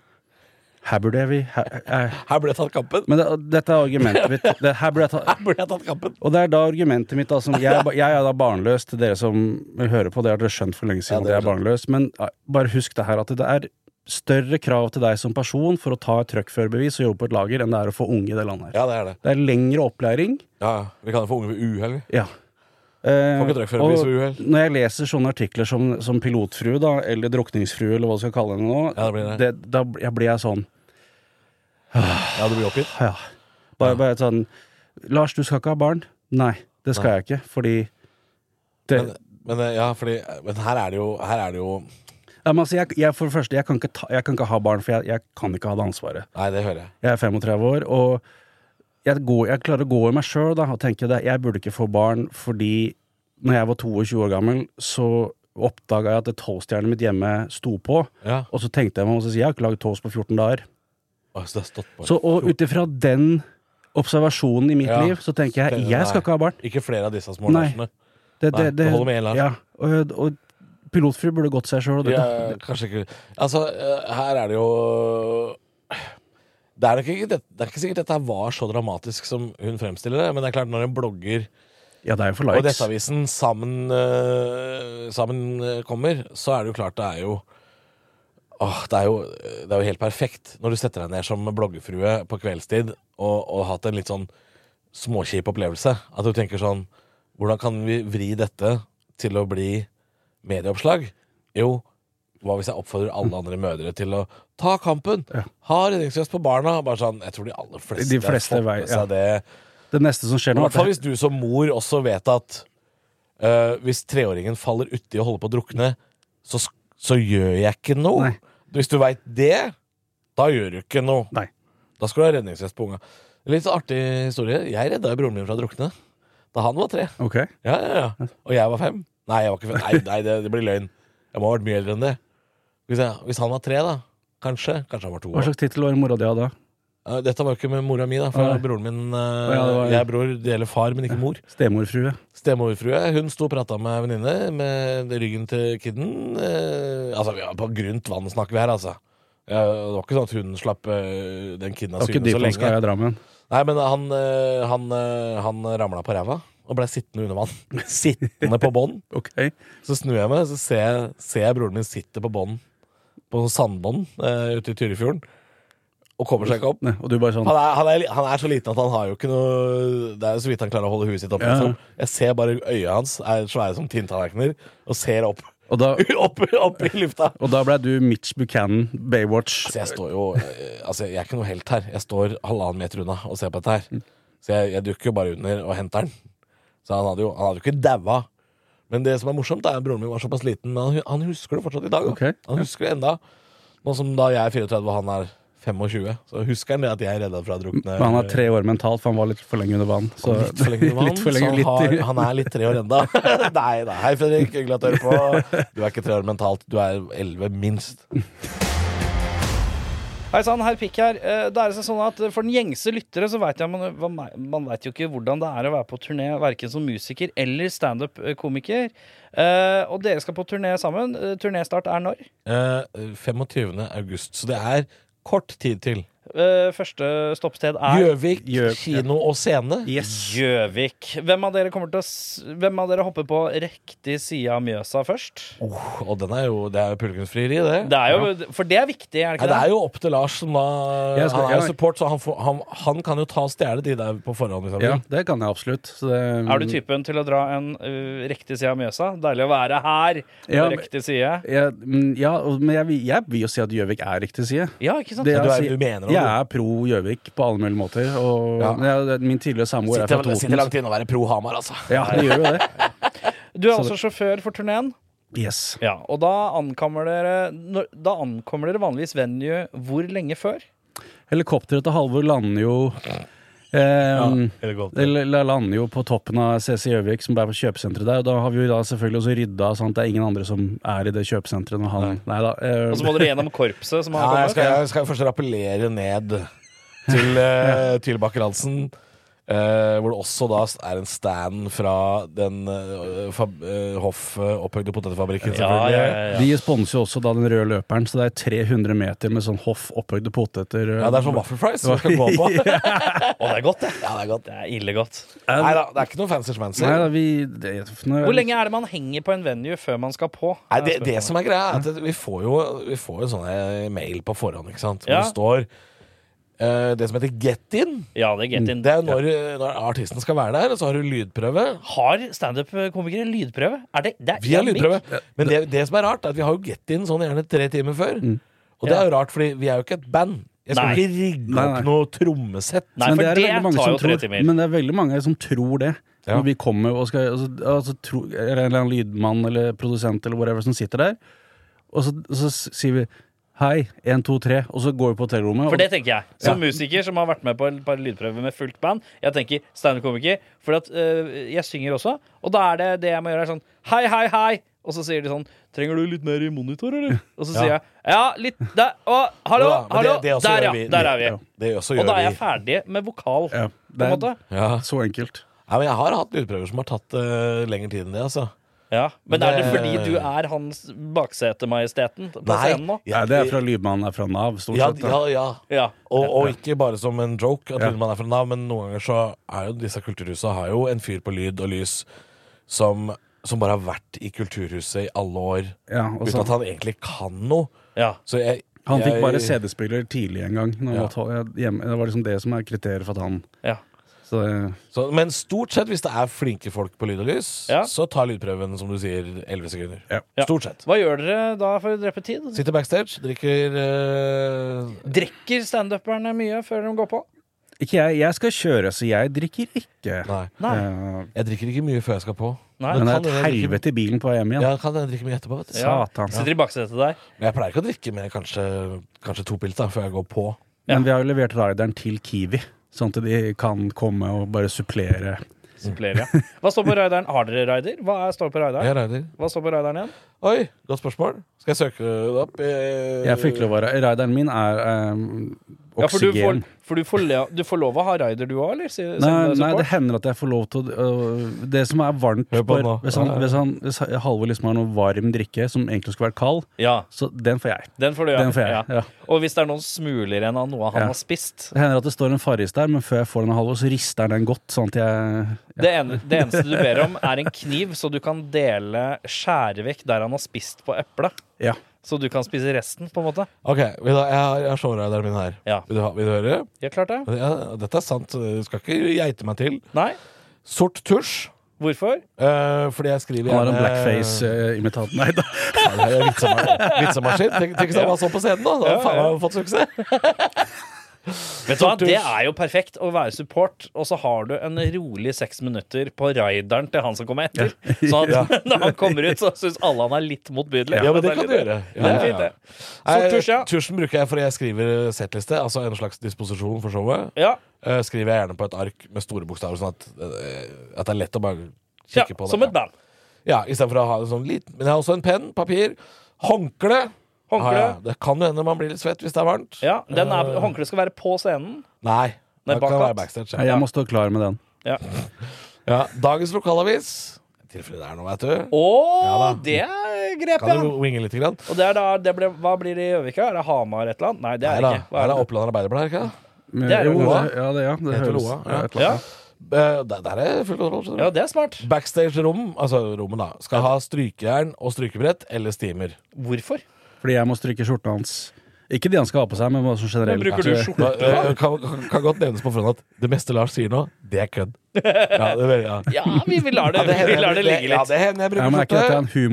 S5: Her burde jeg vi her, her,
S2: Her ble jeg tatt kampen!
S5: Men det, dette er argumentet mitt. Det, her ble jeg ta,
S2: Her ble jeg tatt kampen!
S5: og det er da argumentet mitt da, som jeg, er ba- jeg er da barnløs til dere som vil høre på. Det har dere skjønt for lenge
S2: Ja,
S5: siden.
S2: det
S5: at jeg er barnløs Men ja, bare husk det her at det er større krav til deg som person for å ta et truckførerbevis og jobbe på et lager enn det er å få unge i det landet her.
S2: Ja, det er det.
S5: Det er lengre opplæring.
S2: Ja, ja. Vi kan jo få unge ved uhell. vi.
S5: Ja. Eh,
S2: Får ikke truckførerbevis
S5: og
S2: ved uhell.
S5: når jeg leser sånne artikler som, som pilotfrue, da, eller drukningsfrue, eller hva du skal kalle henne nå,
S2: Ja, det blir
S5: det, da bl- ja, blir jeg sånn
S2: Ja, du blir oppgitt.
S5: Ja. Bare, bare sånn Lars, du skal ikke ha barn? Nei, det skal jeg ikke, fordi det,
S2: Men, men, øh, ja, fordi, men her er det jo, her er det jo
S5: Nei, men altså, jeg, jeg, For det første, jeg kan ikke, ta, jeg kan ikke ha barn, for jeg, jeg kan ikke ha det ansvaret.
S2: Nei, det hører jeg.
S5: Jeg er 35 år, og jeg, går, jeg klarer å gå i meg sjøl og tenke at jeg burde ikke få barn fordi når jeg var 22 år gammel, så oppdaga jeg at det toastjernet mitt hjemme sto på,
S2: Ja.
S5: og så tenkte jeg meg om og så sier jeg, jeg har ikke lagd toast på 14 dager.
S2: Å, så det har stått på.
S5: Så, og ut ifra den observasjonen i mitt
S2: Ja.
S5: liv, så tenker jeg jeg skal ikke ha barn.
S2: Ikke flere av disse små
S5: Nei.
S2: Larsene.
S5: Det,
S2: Nei, det holder med én, Lars.
S5: Ja, og, og pilotfru burde gått seg sjøl.
S2: Ja, kanskje ikke Altså, eh, her er det jo det er, nok ikke, det, det er ikke sikkert dette var så dramatisk som hun fremstiller det, men det er klart når en blogger
S5: Ja, det er jo for
S2: og
S5: likes.
S2: Nettavisen sammen, eh, sammen eh, kommer, så er det jo klart det er jo Åh, det, er jo, det er jo helt perfekt når du setter deg ned som bloggerfrue på kveldstid og, og har hatt en litt sånn småkjip opplevelse. At du tenker sånn Hvordan kan vi vri dette til å bli medieoppslag? Jo, hva hvis jeg oppfordrer
S5: Mm.
S2: alle andre mødre til å ta kampen? Ha redningsvest på barna. Bare sånn, Jeg tror de aller fleste,
S5: De fleste
S2: har fått med
S5: vei- ja.
S2: seg det.
S5: Det neste som skjer
S2: I
S5: nå,
S2: hvert fall hvis du som mor også vet at øh, hvis treåringen faller uti og holder på å drukne, så, sk- så gjør jeg ikke noe.
S5: Nei.
S2: Hvis du veit det, da gjør du ikke noe.
S5: Nei.
S2: Da skal du ha redningsvest på unga. Litt så artig historie. Jeg redda jo broren min fra å drukne da han var tre.
S5: Ok.
S2: Ja, ja, ja. Og jeg var fem. Nei, jeg var ikke fem. Nei, nei det, det blir løgn. Jeg må ha vært mye eldre enn det. Hvis, jeg, hvis han var tre, da. Kanskje. Kanskje han var to.
S5: Hva
S2: år.
S5: slags tittel var det mora di hadde da?
S2: Eh, Dette var jo ikke med mora mi, da. For
S5: Nei.
S2: broren min eh,
S5: ja, det var-
S2: Jeg er bror, det gjelder far, men ikke mor.
S5: Stemorfrue.
S2: Stemorfrue hun sto og prata med en venninne med ryggen til kidden. Eh, altså, vi var på grunt vann snakker vi her, altså. Ja, det var ikke sånn at hun slapp eh, den kidden av
S5: Det var ikke
S2: syne
S5: de
S2: så
S5: som
S2: lenge.
S5: skal i Drammen.
S2: Nei, men han, eh, han, eh, han ramla på ræva og blei sittende under vann. sittende på bånn.
S5: Ok.
S2: Så snur jeg meg, så ser jeg, ser jeg broren min sitter på bånd På sandbånd eh, ute i Tyrifjorden og kommer seg ikke opp.
S5: Nei, og du bare sånn
S2: Han er, han, er, li- han er så liten at han har jo ikke noe Det er jo så vidt han klarer å holde huet sitt oppe.
S5: Ja.
S2: liksom. Jeg ser bare øya hans er svære som tinntallerkener, og ser opp.
S5: Og da,
S2: opp. Opp i lufta.
S5: og da blei du Mitch Buchanan, Baywatch.
S2: Så Altså, jeg står jo eh, Altså, jeg er ikke noe helt her. Jeg står halvannen meter unna og ser på dette her. Så jeg, jeg dukker jo bare under og henter den. Så han hadde jo, han hadde jo ikke daua. Men det som er morsomt, er at broren min var såpass liten, men han, han husker det fortsatt i dag. da.
S5: Ok.
S2: Han husker det enda. Nå som da jeg er 34 og han er 25, så husker han det at jeg redda fra å drukne.
S5: Men han er tre år mentalt, for han var litt for lenge under vann. Så,
S2: Litt for lenge,
S5: litt for lenge,
S2: så
S5: litt
S2: han,
S5: i-
S2: har, han er litt tre år enda Nei, nei, hei Fredrik, hyggelig at du hører på Du er ikke tre år mentalt, du er 11 minst
S4: Hei sann, herr Pikk her. Eh, Det er altså sånn at eh, For den gjengse lyttere så veit jeg man, man- man vet jo ikke hvordan det er å være på turné verken som musiker eller standup-komiker. Eh, Og dere skal på turné sammen. Eh, Turnéstart er når?
S2: Eh, 25. august, så det er kort tid til
S4: Eh, Første stoppsted er
S2: Gjøvik,
S5: Gjø-
S2: kino og scene
S5: Yes.
S4: Gjøvik. Hvem av dere kommer til å s- Hvem av dere hopper på riktig side av Mjøsa først?
S2: oh, Og den er jo, det er jo pulgrimsfrieri det
S4: Det er jo, for det er viktig, er
S2: Nei, det
S4: det ikke det?
S2: er jo opp til Lars som da
S5: Jeg skal-
S2: Han er jo
S5: jeg-
S2: support, så han, får, han, han kan jo ta og stjele de der på forhånd liksom. hvis han
S5: Ja,
S2: vil.
S5: det kan jeg absolutt. Så det,
S4: Er du
S2: Mm.
S4: typen til å dra en eh, riktig side av Mjøsa? Deilig å være her på
S5: Ja, men-
S4: riktig side.
S5: Jeg, mm, ja, og- men jeg, vil- jeg vil jo si at Gjøvik er riktig side.
S4: Ja, ikke sant?
S5: Det
S2: du er-
S5: sier-
S2: du mener det, du.
S5: jeg er pro Gjøvik på alle mulige måter. Og
S2: Ja.
S5: men jeg, min tidligere samboer er fra
S2: Sitter,
S5: Toten.
S2: sitter langt inne og være pro Hamar altså
S5: Ja, det gjør jo det.
S4: Du er også sjåfør for turneen.
S5: Yes.
S4: Ja, og da ankommer dere når, Da ankommer dere vanligvis venue hvor lenge før?
S5: Helikopteret til Halvor lander jo ehm, Det
S2: Helikopter.
S5: la- lander jo på toppen av CC Gjøvik, som er på kjøpesenteret der. Og da har vi jo da selvfølgelig også rydda, sånn at det er ingen andre som er i det kjøpesenteret når han Nei, da. eh,
S4: Og så må dere gjennom korpset som
S2: Ja,
S4: har
S2: jeg, skal,
S4: kommet?
S2: jeg skal først rappellere ned til, uh, til Bakker-Hansen. eh, hvor det også da er en stand fra den eh, fab, eh, Hoff eh, opphøyde potetfabrikken, selvfølgelig. Ja,
S4: Ja, ja, ja, ja.
S5: De sponser jo også da den røde løperen, så det er 300 meter med sånn hoff opphøyde
S2: det
S5: poteter. eh.
S2: er sånn waffle fries som skal gå på. ja,
S4: Å, det er godt, det.
S2: det er godt.
S4: Det er ille godt.
S2: Nei da, det er ikke noe fancy schmancy.
S5: Nei
S2: Nei,
S5: da, vi det, nå-
S4: Hvor lenge er det man henger på en venue før man skal på?
S2: det, det som er Mm. greia, er at vi får jo, vi får jo sånne mail på forhånd, ikke sant. Hvor
S4: Ja.
S2: det står eh, det som heter get in.
S4: Ja, det er get in.
S2: Det er når, når artisten skal være der, og så har du lydprøve.
S4: Har standup-komikere lydprøve? Er det, det er
S2: Vi har
S4: en mic.
S2: lydprøve. Men det, det som er rart, er at vi har jo Get In sånn gjerne tre timer før. Og det er jo rart, fordi vi er jo ikke et band. Jeg skal
S4: Nei.
S2: ikke rigge
S5: Nei, nei.
S2: opp noe trommesett.
S4: Nei,
S5: Men
S4: for det,
S5: er veldig mange
S4: tar
S5: som
S4: jo tre
S5: tror,
S4: timer.
S5: Men det er veldig mange som tror det.
S2: Ja.
S5: Når vi kommer og skal altså, altså, tro, Eller en eller annen lydmann eller produsent eller whatever som sitter der, og så, så sier vi hei, én, to, tre, og så går vi på hotellrommet.
S4: For det
S5: og,
S4: tenker jeg. Som musiker som har vært med på et par lydprøver med fullt band. Jeg tenker standup-komiker, for at, øh, jeg synger også. Og da er det det jeg må gjøre, er sånn hei, hei, hei. Og så sier de sånn Trenger du litt mer i monitor, eller? Og så sier jeg ja, litt der. Å, hallo,
S2: Ja, men
S4: hallo.
S2: det- det også
S4: der,
S2: gjør
S4: ja.
S2: vi.
S4: Der er vi.
S5: Ja.
S2: Det også
S4: Og
S2: gjør
S4: da er
S2: vi.
S4: jeg ferdig med vokal,
S5: ja,
S4: på en
S5: det er
S4: måte.
S2: Ja.
S5: så enkelt.
S2: Nei, men jeg har hatt lydprøver som har tatt eh, lengre tid enn det, altså.
S4: Ja. Men er det
S2: Det-
S4: fordi du er hans baksetemajesteten på
S2: Nei.
S4: scenen nå?
S5: Nei, det er fra lydmannen er fra Nav, stort
S2: Ja,
S5: sett.
S2: ja,
S5: da.
S2: ja.
S4: Ja.
S2: Og, og ikke bare som en joke, at
S5: Ja.
S2: lydmann er fra Nav, men noen ganger så er jo disse kulturhusa har jo en fyr på lyd og lys som, som bare har vært i kulturhuset i alle år,
S5: Ja, og
S2: uten
S5: så,
S2: at han egentlig kan noe.
S4: ja.
S2: Så jeg
S5: han fikk
S2: jeg-
S5: bare CD-spiller tidlig en gang. Når han
S2: Ja.
S5: var tolv- hjemme, det var liksom det som er kriteriet for at han
S4: ja.
S5: så, eh,
S2: Så, men stort sett, hvis det er flinke folk på lyd og lys,
S4: Ja.
S2: så tar lydprøven som du sier, 11 sekunder.
S5: ja.
S4: Ja.
S2: Stort sett.
S4: Hva gjør dere da for å drepe tid?
S2: Sitter backstage, drikker eh,
S4: Drikker standuperne mye før de går på?
S5: Ikke jeg. Jeg skal kjøre, så jeg drikker ikke.
S2: Nei.
S4: Nei.
S5: Eh,
S2: Jeg drikker ikke mye før jeg skal på.
S4: Nei.
S5: men det
S2: kan
S5: er et
S2: jeg drikke-
S5: helvete i bilen på vei hjem igjen.
S2: Ja, kan jeg drikke mye etterpå, vet du.
S4: Ja.
S5: Satan.
S4: Sitter i baksetet der.
S2: Men jeg pleier ikke å drikke mer enn kanskje, kanskje to pils da, før jeg går på.
S5: Men vi har jo levert rideren til Kiwi, sånn at de kan komme og bare supplere.
S4: Supplerer, ja. Hva står på rideren? Har dere rider? Hva er, står på
S2: Jeg
S4: rideren?
S2: rider.
S4: Hva står på rideren igjen?
S2: Oi, godt spørsmål. Skal jeg søke det opp? Eh,
S5: Jeg fikk lov å være Rideren min er eh,
S4: Ja, for du får,
S5: oksygen.
S4: for du får, le- du får lov å ha rider, du òg, eller? Sier,
S5: Nei,
S4: sender deg
S5: nei, det
S4: support?
S5: hender at jeg får lov til å øh, Det som er varmt
S2: Hør på
S5: for-
S2: nå.
S5: Hvis, han,
S2: Ja, ja.
S5: hvis, han, hvis Halvor liksom har noe varm drikke som egentlig skulle vært kald,
S4: Ja,
S5: så den får jeg.
S4: den får du, ja.
S5: Den får jeg,
S4: ja.
S5: ja.
S4: Og hvis det er noen smuler igjen av noe han
S5: Ja.
S4: har spist
S5: Det hender at det står en Farris der, men før jeg får den av Halvor, så rister han den godt. Sånn at jeg
S4: det, ene, det eneste du ber om, er en kniv, så du kan dele skjære vekk der han har spist på eplet.
S5: Ja.
S4: så du kan spise resten, på en måte.
S2: Ok, vil du ha- jeg har, jeg har showrideren min her.
S4: Ja.
S2: Vil, du ha, vil du høre?
S4: Ja, klart det.
S2: Ja, dette er sant. Du skal ikke geite meg til.
S4: Nei?
S2: Sort tusj.
S4: Hvorfor?
S2: eh, fordi jeg skriver
S5: Han har en
S2: gjerne-
S5: blackface-imitat. Nei da.
S2: Ja, det er vitsema- Vitsemaskin. Tenk tenk hvis han var sånn på scenen, da. Da hadde
S4: Ja,
S2: faen
S4: ja.
S2: meg fått suksess.
S4: Vet du hva,
S2: Tortus.
S4: Det er jo perfekt å være support, og så har du en rolig seks minutter på raideren til han som kommer etter. Så at, når han kommer ut, så syns alle han er litt motbydelig.
S2: Ja, men det
S4: er
S2: kan
S4: litt-
S2: du gjøre.
S4: Ja, det er fint, det.
S2: Nei,
S4: Sort tusj, ja.
S2: Tusjen bruker jeg fordi jeg skriver settliste, altså en slags disposisjon for showet.
S4: Ja,
S2: Eh, skriver jeg gjerne på et ark med store bokstaver, sånn at, eh, at det er lett å bare
S4: ja
S2: kikke på det.
S4: som et band.
S2: Ja, istedenfor å ha en sånn liten Men jeg har også en penn, papir, håndkle.
S4: Håndkle.
S2: Har jeg. det kan jo hende man blir litt svett hvis det er varmt. Eh,
S4: Ja, den er,
S2: Ah.
S4: Håndkleet skal være på scenen.
S2: Nei.
S4: Nei,
S2: Det kan
S4: bakkatt.
S2: være backstage.
S5: Nei,
S2: Ja.
S5: Jeg må stå klar med den.
S4: Ja.
S2: Ja. Dagens lokalavis. I tilfelle det er noe, vet du.
S4: Å,
S2: Ja da.
S4: det er grep, ja!
S2: Kan du winge litt? Grann?
S4: Og det er da, det ble, Hva blir det i Gjøvika? Er det Hamar et eller annet? Nei, det
S2: Nei
S4: er det
S2: da.
S4: ikke. Hva
S2: Her
S4: er
S2: er
S4: det?
S2: Oppland Arbeiderblad, er det ikke det?
S5: Men-
S4: Det er jo
S5: jo,
S2: Loa.
S5: det- Ja, det, ja, det
S2: Heter
S5: høres
S2: Loa,
S5: ja,
S2: ja.
S5: et eller
S4: Ja.
S5: annet.
S2: Eh, der, der er full kontroll. skjønner du.
S4: ja, det er smart.
S2: Backstage-rom, altså rommet, da, skal ha strykejern og strykebrett eller steamer.
S4: Hvorfor?
S5: Fordi jeg må stryke skjorta hans. Ikke de han skal ha på seg, men bare sånn
S4: Men
S5: generelt.
S4: bruker du
S5: Ja.
S4: skjorte?
S2: Da, eh, kan, kan- kan godt nevnes på forhånd at det meste Lars sier nå, det er kødd. Ja, det, er- ja.
S4: Ja, vi, vi lar det,
S2: Ja, det
S4: vi
S2: hender
S4: lar det
S2: jeg-
S4: ligge
S2: Ja,
S4: litt.
S2: det hender jeg
S5: Ja, men
S2: bruker
S5: er ikke dette
S2: skjorte.
S5: en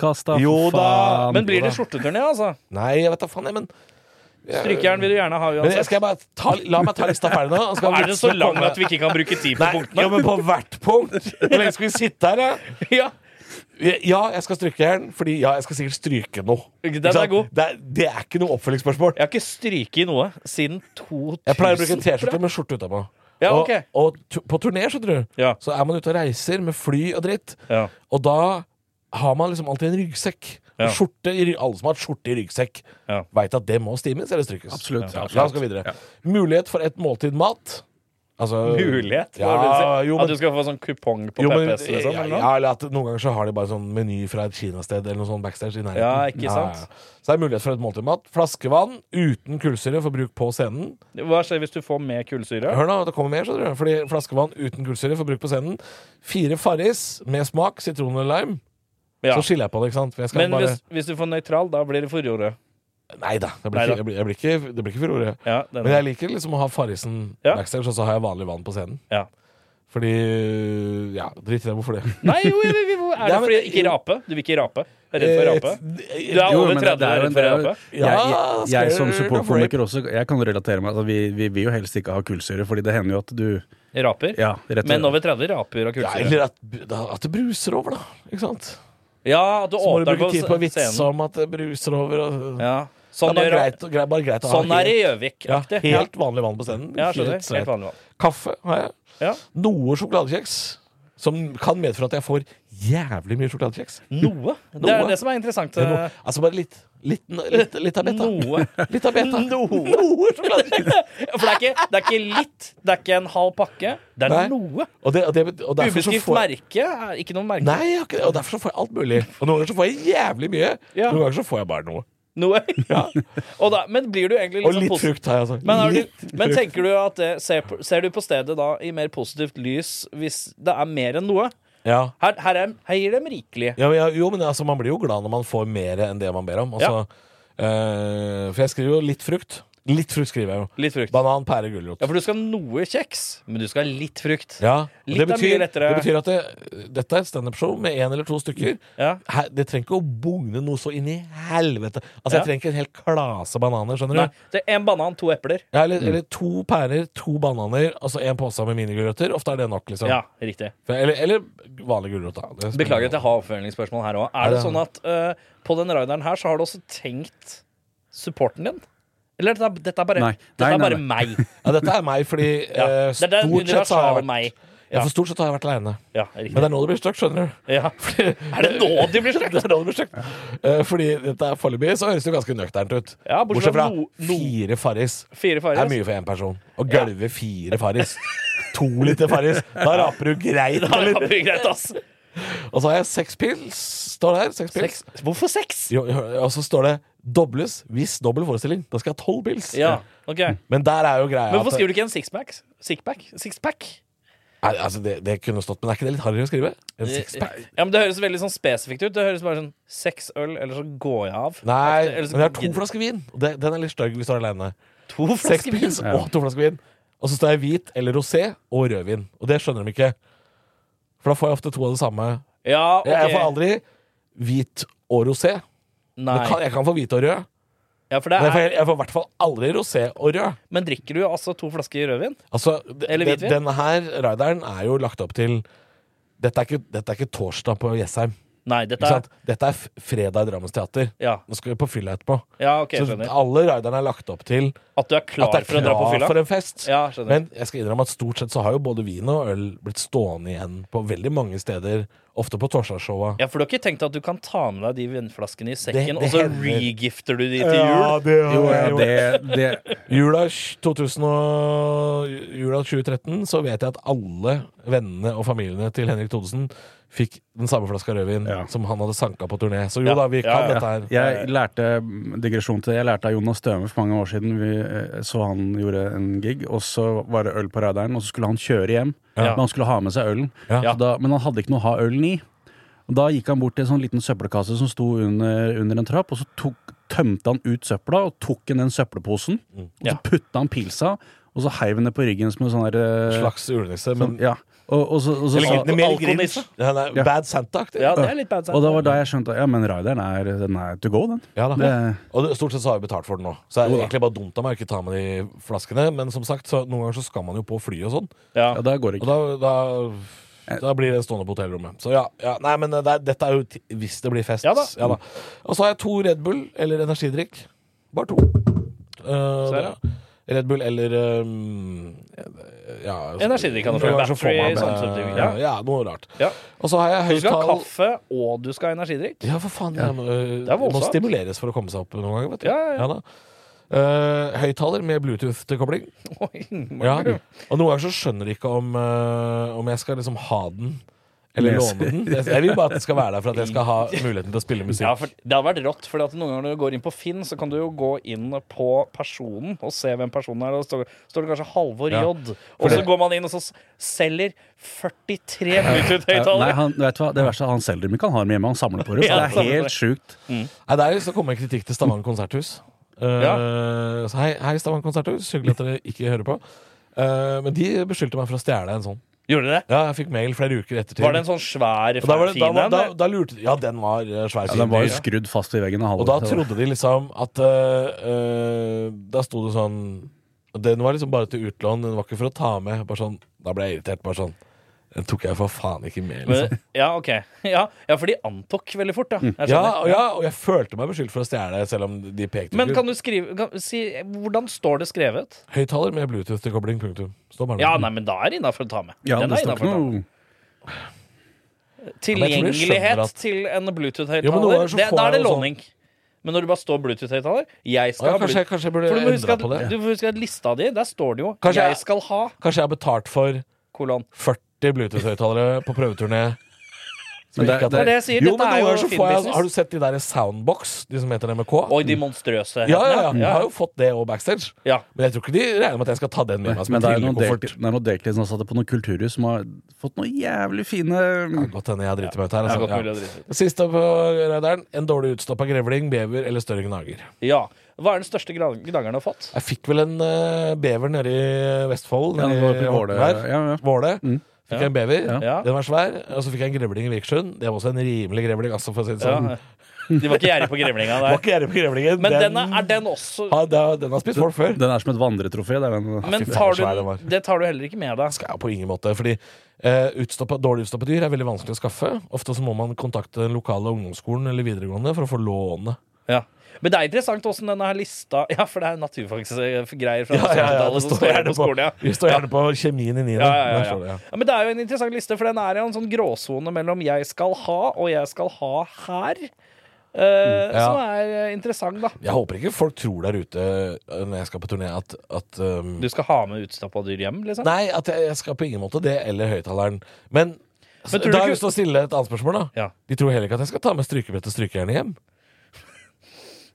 S5: humorpodkast, da?
S2: Jo
S5: For
S2: da,
S5: faen.
S4: Men blir det
S2: Jo
S4: skjorteturné, altså?
S2: Nei, jeg vet da faen, jeg, men
S4: Strykejern vil du gjerne ha
S2: Men jeg
S4: uansett.
S2: skal bare ta, la meg ta lista ferdig nå. og så skal
S4: Er den så
S2: vitsene
S4: lang
S2: komme.
S4: at vi ikke kan bruke tid på
S2: Nei, ja,
S4: punktene?
S2: men på hvert punkt. Hvor lenge skal vi sitte her, da?
S4: Ja,
S2: Ja, jeg skal stryke jern, fordi ja, jeg skal sikkert stryke noe.
S4: Den
S2: Ikke sant?
S4: er god.
S2: Det er, det er ikke noe oppfølgingsspørsmål.
S4: Jeg har ikke stryket i noe siden 2000.
S2: Jeg pleier å bruke en T-skjorte med skjorte utapå.
S4: Ja,
S2: Og-
S4: ok.
S2: Og, tu- på turné, skjønner du,
S4: Ja.
S2: så er man ute og reiser med fly og dritt.
S4: Ja.
S2: Og da har man liksom alltid en ryggsekk.
S4: Ja.
S2: En Skjorte i, ry- alle som har hatt skjorte i ryggsekk,
S4: Ja.
S2: Vet veit at det må stimes eller strykes.
S5: Absolutt.
S2: Ja, la oss gå videre.
S5: Ja.
S2: Mulighet for et måltid mat. Altså,
S4: Mulighet? hva
S2: Ja,
S4: vil du si?
S2: jo,
S4: At
S2: men,
S4: du skal få sånn kupong på
S2: jo, men,
S4: PPS, liksom? Eller noe?
S2: ja, eller at noen ganger så har de bare sånn meny fra et kinasted eller noe sånt backstage i nærheten.
S4: Ja, ikke sant?
S2: Så det er mulighet for et måltid mat. Flaskevann uten kullsyre for bruk på scenen.
S4: Hva skjer hvis du får med kullsyre?
S2: Hør nå, det kommer mer, skjønner du. Fordi flaskevann uten kullsyre får bruk på scenen. Fire Farris med smak, sitron eller lime.
S4: Ja.
S2: Så skiller jeg på det, ikke sant. For jeg skal
S4: Men
S2: bare...
S4: hvis, hvis du får nøytral, da blir det forordet.
S2: Nei da, det blir,
S4: Neida.
S2: ikke- jeg blir, jeg blir ikke, det blir ikke furore.
S4: Ja, den
S2: Men
S4: er-
S2: jeg liker liksom å ha Farrisen
S4: Ja.
S2: backstage, og så har jeg vanlig vann på scenen.
S4: Ja.
S2: Fordi Ja, drit i det. Hvorfor det?
S4: Nei, jo, jo, jo, jo. er
S2: Ja,
S4: det
S2: men-
S4: fordi ikke rape? Du vil ikke rape? Er Redd for å
S2: Eh,
S4: rape? Du er
S5: Jo,
S4: over
S5: men
S4: 30
S5: det er
S4: år
S5: jo-
S4: redd for å
S5: det er
S4: rape?
S5: jo- Jeg, jeg,
S2: Ja,
S5: jeg, jeg
S2: skal
S5: som
S2: du
S5: supportkomiker også, jeg kan relatere meg. Altså, vi, vi vil jo helst ikke ha kullsyre, fordi det hender jo at du
S2: Eh,
S4: Raper?
S5: Ja, rett og
S4: Men
S5: slett.
S4: over 30 raper og
S2: Ja,
S4: kullsyre.
S2: eller at, at det bruser over, da. Ikke sant?
S4: Ja, at du
S2: Så må du bruke
S4: åpner på
S2: tid på å
S4: scenen.
S2: vitse om at det bruser over. Og,
S4: Ja.
S2: Det
S4: Sånn,
S2: er bare
S4: gjør,
S2: greit, greit, bare greit å ha
S4: sånn er det i
S2: ja,
S4: Gjøvik-aktig. Ja,
S2: Helt vanlig vann på scenen.
S4: ja, skjønner.
S2: Helt
S4: Helt
S2: streit.
S4: vanlig vann.
S2: Kaffe har jeg.
S4: Ja.
S2: Noe sjokoladekjeks. Som kan medføre at jeg får jævlig mye sjokoladekjeks.
S4: Noe. Det er
S2: Noe.
S4: det som er interessant.
S2: Det er noe- Altså bare litt. Litt, litt, litt av beta.
S4: Eh. Noe.
S2: Litt av beta.
S4: Noe sjokoladekjeks. For det er, ikke, det er ikke litt, det er ikke en halv pakke. Det er
S2: Nei.
S4: noe.
S2: Og, det, og, det, bet- og derfor så
S4: Ubeskrift
S2: får
S4: merke er ikke noe merke.
S2: Nei, jeg har ikke det. Og derfor så får jeg alt mulig. Og noen ganger så får jeg jævlig mye.
S4: Ja.
S2: Noen ganger så får jeg bare noe.
S4: Noe.
S2: Ja.
S4: Og da, men blir du egentlig
S2: Og
S4: liksom
S2: litt
S4: posi-
S2: frukt har jeg, altså.
S4: Men, er
S2: Litt
S4: du, men
S2: frukt.
S4: tenker du at det, ser, på- ser du på stedet da i mer positivt lys hvis det er mer enn noe?
S2: ja.
S4: Her, her, er, her gir dem rikelig.
S2: Ja, men, ja, jo, men altså, man blir jo glad når man får mer enn det man ber om. Altså, eh, for jeg skriver jo litt frukt. Litt frukt skriver jeg jo.
S4: Litt frukt.
S2: Banan, pære, gulrot.
S4: Ja, for du skal ha noe kjeks, men du skal ha litt frukt.
S2: Ja, og
S4: Litt
S2: det,
S4: er mye
S2: betyr,
S4: lettere.
S2: det betyr at det, dette er et standup-show med én eller to stykker.
S4: Ja.
S2: Her, det trenger ikke å bugne noe så inn i helvete. Altså,
S4: Ja.
S2: Jeg trenger ikke en hel klase bananer. skjønner
S4: Nei, Mm.
S2: du?
S4: det er en banan, to epler.
S2: Ja, eller, eller to pærer, to bananer, altså en pose med minigulrøtter. Ofte er det nok. liksom
S4: Ja, riktig.
S2: For- Eller, eller vanlig gulrot. da. Det-
S4: Beklager at jeg har oppfølgingsspørsmål her òg. Er det
S2: det-
S4: sånn at eh, på den rideren her så har du også tenkt supporten din? Eller dette, er- dette er bare,
S5: Nei.
S4: dette
S5: Nei,
S4: er
S5: nei,
S4: bare meg.
S2: Ja, dette er meg, fordi
S4: Ja.
S2: eh,
S4: Det er den
S2: stort, sett så har jeg
S4: universalen
S2: vært,
S4: meg.
S2: ja, for stort sett har jeg vært aleine.
S4: Ja,
S2: Men
S4: riktig.
S2: det er nå det blir stygt, skjønner du.
S4: Ja. Er det nå de blir
S2: Det
S4: sløkt?
S2: er nå det blir stygt. Eh, Fordi dette er foreløpig så høres det jo ganske nøkternt ut.
S4: Ja, bortsett
S2: Bortsett fra
S4: fra no- no-
S2: fire Farris.
S4: Fire altså.
S2: Det er
S4: farer.
S2: mye for én person. Å gølve fire Farris. To liter Farris. Da raper du greit.
S4: Ja,
S2: Eller?
S4: det blir greit, ass.
S2: Og så har jeg seks pils. Står det her. Seks pils.
S4: Seks. Hvorfor seks?
S2: Jo, jo, og så står det 'dobles hvis dobbel forestilling'. Da skal jeg ha tolv pils.
S4: Ja, ok. Men
S2: Men der er jo greia
S4: hvorfor skriver du ikke en sixpack? Sixpack? Sixpack?
S2: Nei, altså, det, det kunne stått, men er ikke det litt harry å skrive? En sixpack?
S4: Ja, men Det høres veldig sånn spesifikt ut. Det høres bare sånn Seks øl, eller så går jeg av.
S2: Nei,
S4: Eller så-
S2: men jeg har to flasker vin. Og det, den er litt stygg hvis du er aleine.
S4: To
S2: Seks
S4: flasker vin.
S2: pils og to flasker vin. Og så står jeg hvit eller rosé og rødvin. Og det skjønner de ikke. For da får jeg ofte to av det samme.
S4: Ja, ok.
S2: Jeg, jeg får aldri hvit og rosé. Men
S4: Nei.
S2: kan, jeg kan få hvit og rød.
S4: Ja, for det
S2: Men jeg
S4: er,
S2: får- jeg får i hvert fall aldri rosé og rød.
S4: men drikker du altså to flasker rødvin?
S2: Altså, d-
S4: Eller
S2: den-
S4: hvitvin?
S2: denne her rideren er jo lagt opp til Dette er ikke, dette er ikke torsdag på Jessheim.
S4: Nei, dette
S2: Ikke
S4: er
S2: sant? Dette er f- fredag i Drammens Teater.
S4: Ja,
S2: Nå skal vi på fylla etterpå.
S4: ja ok,
S2: Så
S4: skjønner.
S2: alle riderne er lagt opp til
S4: At du er
S2: at
S4: klar
S2: det er
S4: for å dra på
S2: klar
S4: fylla?
S2: for en fest.
S4: Ja, skjønner.
S2: Men jeg skal innrømme at stort sett så har jo både vin og øl blitt stående igjen på veldig mange steder. Ofte på torsdagsshowa.
S4: Ja, for du har ikke tenkt at du kan ta med deg de vinflaskene i
S2: Det-
S4: sekken,
S2: det
S4: og så
S2: hender.
S4: regifter du de til jul?
S2: det har
S5: Jo, ja, det, det
S2: Jula, sj- 2000 og, jula 2013 så vet jeg at alle vennene og familiene til Henrik Thodesen fikk den samme flaska rødvin
S5: Ja.
S2: som han hadde sanka på turné. Så jo
S4: Ja,
S2: da, vi
S4: ja,
S2: kan
S4: ja.
S2: dette her.
S5: Jeg lærte digresjon til det. Jeg lærte av Jonas Støme for mange år siden. Vi eh, så han gjorde en gig, og så var det øl på radaren, og så skulle han kjøre hjem.
S4: Ja.
S5: Men han skulle ha med seg ølen.
S2: Ja.
S5: Så Da, men han hadde ikke noe å ha ølen i. Og Da gikk han bort til en sånn liten søppelkasse som sto under, under en trapp, og så tok, tømte han ut søpla og tok inn den søppelposen.
S2: Mm.
S5: Og
S4: Ja.
S5: så putta han pilsa, og så heiv han det på ryggen som en sånn der eh,
S2: Slags julenisse, men
S5: Ja. Og, og så, og så,
S4: Eller
S5: sa-
S4: Grinch.
S2: Mer
S4: Alkonisse.
S2: Grinch. Ja, nei,
S5: Ja.
S2: Bad Santa-aktig.
S4: Ja, det er litt bad
S5: og
S4: sign.
S5: da var da jeg skjønte ja, men rideren er, den er to go, den.
S2: Ja da.
S5: det,
S2: Og det, stort sett så har vi betalt for den nå. Så det er
S5: Jo da.
S2: egentlig bare dumt av meg å ikke ta med de flaskene. Men som sagt, så noen ganger så skal man jo på fly og sånn.
S4: Ja.
S5: ja, da går det
S2: Og
S5: ikke.
S2: da, da, da blir det stående på hotellrommet. Så ja, ja nei, men det er, dette er jo ti- hvis det blir fest.
S4: Ja da.
S2: Og så har jeg to Red Bull eller energidrikk. Bare to. Eh,
S4: er
S2: det- Red Bull eller um, ja, altså,
S4: Energidrikk kan du få.
S2: noen ganger så får man
S4: Battery, sånn type ting.
S2: med-
S4: Ja.
S2: ja. noe rart.
S4: Ja.
S2: Og så har jeg
S4: Du skal ha
S2: høyttal...
S4: kaffe, og du skal ha energidrikk.
S2: Ja, for faen. Jeg, må- eh,
S4: Det er
S2: jeg må
S4: voldsomt.
S2: stimuleres for å komme seg opp noen ganger. Vet du.
S4: Ja, ja, ja.
S2: da. Eh, høyttaler med Bluetooth-tilkobling.
S4: Oi,
S2: Ja. Og noen ganger så skjønner de ikke om, eh, om jeg skal liksom ha den eller
S5: Yes.
S2: låne den. Jeg- Jeg vil bare at den skal være der for at jeg skal ha muligheten til å spille musikk.
S4: Ja, for Det hadde vært rått, for noen ganger når du går inn på Finn, så kan du jo gå inn på personen og se hvem personen er. Og så står, står det kanskje Halvor
S2: Ja.
S4: J. Og så
S2: det-
S4: går man inn og så s- selger 43
S5: Ja, Eh, Nei,
S4: Bluetooth-høyttalere.
S5: han, vet du hva, det verste er at han selger dem ikke, han har dem hjemme, han samler på det. Så
S4: Ja,
S5: det er
S4: samler på det.
S5: helt sjukt.
S2: Nei, der så kommer en kritikk til Stavanger konserthus. Eh, Så hei, hei Stavanger konserthus, hyggelig at dere ikke hører på. Eh, men de beskyldte meg for å stjele en sånn.
S4: Gjorde dere det?
S2: Ja, jeg fikk mail flere uker ettertid.
S4: Var det en sånn svær,
S2: Og da, var det,
S4: fin
S2: da, var-
S4: en?
S2: da,
S4: eller?
S2: da lurte de Ja, den var eh, svær.
S5: Ja, den var jo
S2: fin.
S5: skrudd fast i veggen av
S2: Og da
S5: Halvor.
S2: trodde de liksom at eh, eh, Da sto det sånn Den var liksom bare til utlån, den var ikke for å ta med. Bare sånn, da ble jeg irritert. Bare sånn Den tok jeg for faen ikke med, liksom.
S4: Men, ja, ok. Ja, ja, for de antok veldig fort, da. Jeg
S2: ja,
S4: skjønner.
S2: og, ja, og jeg følte meg beskyldt for å stjele, selv om de pekte
S4: Men
S2: ikke
S4: kan du skrive kan, si, Hvordan står det skrevet?
S2: Høyttaler med Bluetooth-tilkobling, punktum. Står bare der.
S4: Ja, nei, men da er det innafor å ta med.
S5: Ja,
S4: Den
S5: det
S4: er
S5: står
S4: innenfor å
S5: ikke
S4: ta med.
S5: noe
S2: men jeg tror de skjønner
S4: Tilgjengelighet
S2: at-
S4: til
S2: Jo,
S4: en
S2: men noen
S4: Bluetooth-høyttaler.
S2: ganger så
S4: det-
S2: får
S4: Da er det
S2: jeg jo sånn-
S4: låning. Men når du bare står Bluetooth-høyttaler Jeg
S2: Å,
S4: skal
S2: ja,
S4: ha
S2: kanskje,
S4: Bluetooth.
S2: jeg- kanskje jeg burde
S4: For du må huske
S2: endra
S4: at,
S2: på det.
S4: du må huske at lista di, der står det jo
S2: Kanskje jeg-
S4: 'Jeg skal ha',
S2: Kanskje jeg har betalt for
S4: kolon.
S2: 40 Bluetooth-høyttalere på prøveturné.
S5: Men det-
S2: Ikke at-
S5: det er
S4: det jeg sier,
S2: Jo, men
S4: dette er
S2: noen
S4: jo
S2: ganger så
S4: fin
S2: får jeg, sånn-
S4: business.
S2: Har du sett de der Soundbox, de som heter det med K?
S4: Og de monstrøse
S2: Ja, ja, ja.
S4: hetene.
S2: Jeg har jo fått det òg backstage.
S4: Ja.
S2: Men jeg tror ikke de regner med at jeg skal ta den med meg som
S5: Men
S2: en
S5: det er noen
S2: trillekoffert.
S5: deltid- det er noen deltids som har satt det på noen kulturhus, som har fått noen jævlig fine
S2: Det kan Godt hende jeg driter meg ut her.
S4: Ja,
S2: Altså.
S4: godt mulig å
S2: Ja.
S4: drite i.
S2: Siste på radaren. En dårlig utstoppa grevling, bever eller større gnager.
S4: ja. Hva er den største gra- gnageren du har fått?
S2: Jeg fikk vel en eh, bever nede i Vestfold.
S5: Ja,
S2: nede
S5: det var oppe i
S2: i
S5: Våle.
S2: Horten her.
S5: Ja, Mm. ja.
S2: Våle. Fikk jeg en bever.
S4: Ja.
S2: Den var svær. Og så fikk jeg en grevling i Vikersund. Det var også en rimelig grevling. Altså, for å si det sånn.
S4: Ja. De var ikke gjerrige på
S2: Det
S4: grevlinga der.
S2: var ikke gjerrig på grevlingen.
S4: Men den er, er den også
S2: ja, det er- den har spist folk før.
S5: Den er som et vandretrofé. Det er den,
S4: Men
S2: Ah, fy faen,
S4: tar
S2: så svær den
S4: du,
S2: var.
S4: det tar du heller ikke med deg.
S2: skal jeg på ingen måte. Fordi eh, utstoppet, dårlig utstoppa dyr er veldig vanskelig å skaffe. Ofte så må man kontakte den lokale ungdomsskolen eller videregående for å få låne.
S4: Ja. Men det er interessant åssen denne her lista Ja, for det er naturfagsgreier fra
S2: det
S4: 70-tallet som
S2: står
S4: står her
S2: gjerne
S4: på
S2: på,
S4: skolen, ja.
S2: vi står gjerne på kjemien i niende.
S4: Ja, ja,
S2: Der
S4: ja,
S2: står det,
S4: ja.
S2: ja.
S4: ja, Men det er jo en interessant liste, for den er jo en sånn gråsone mellom 'jeg skal ha' og 'jeg skal ha her'. eh,
S2: Mm, ja.
S4: Som er eh, interessant, da.
S2: Jeg håper ikke folk tror der ute eh, når jeg skal på turné, at, at um,
S4: Du skal ha med utstappa dyr hjem, liksom?
S2: Nei, at jeg, jeg skal på ingen måte det, eller høyttaleren. Men,
S4: Men tror du
S2: da har
S4: ikke-
S2: jeg lyst til å stille et annet spørsmål, da.
S4: Ja.
S2: De tror heller ikke at jeg skal ta med strykebrett og strykejern hjem.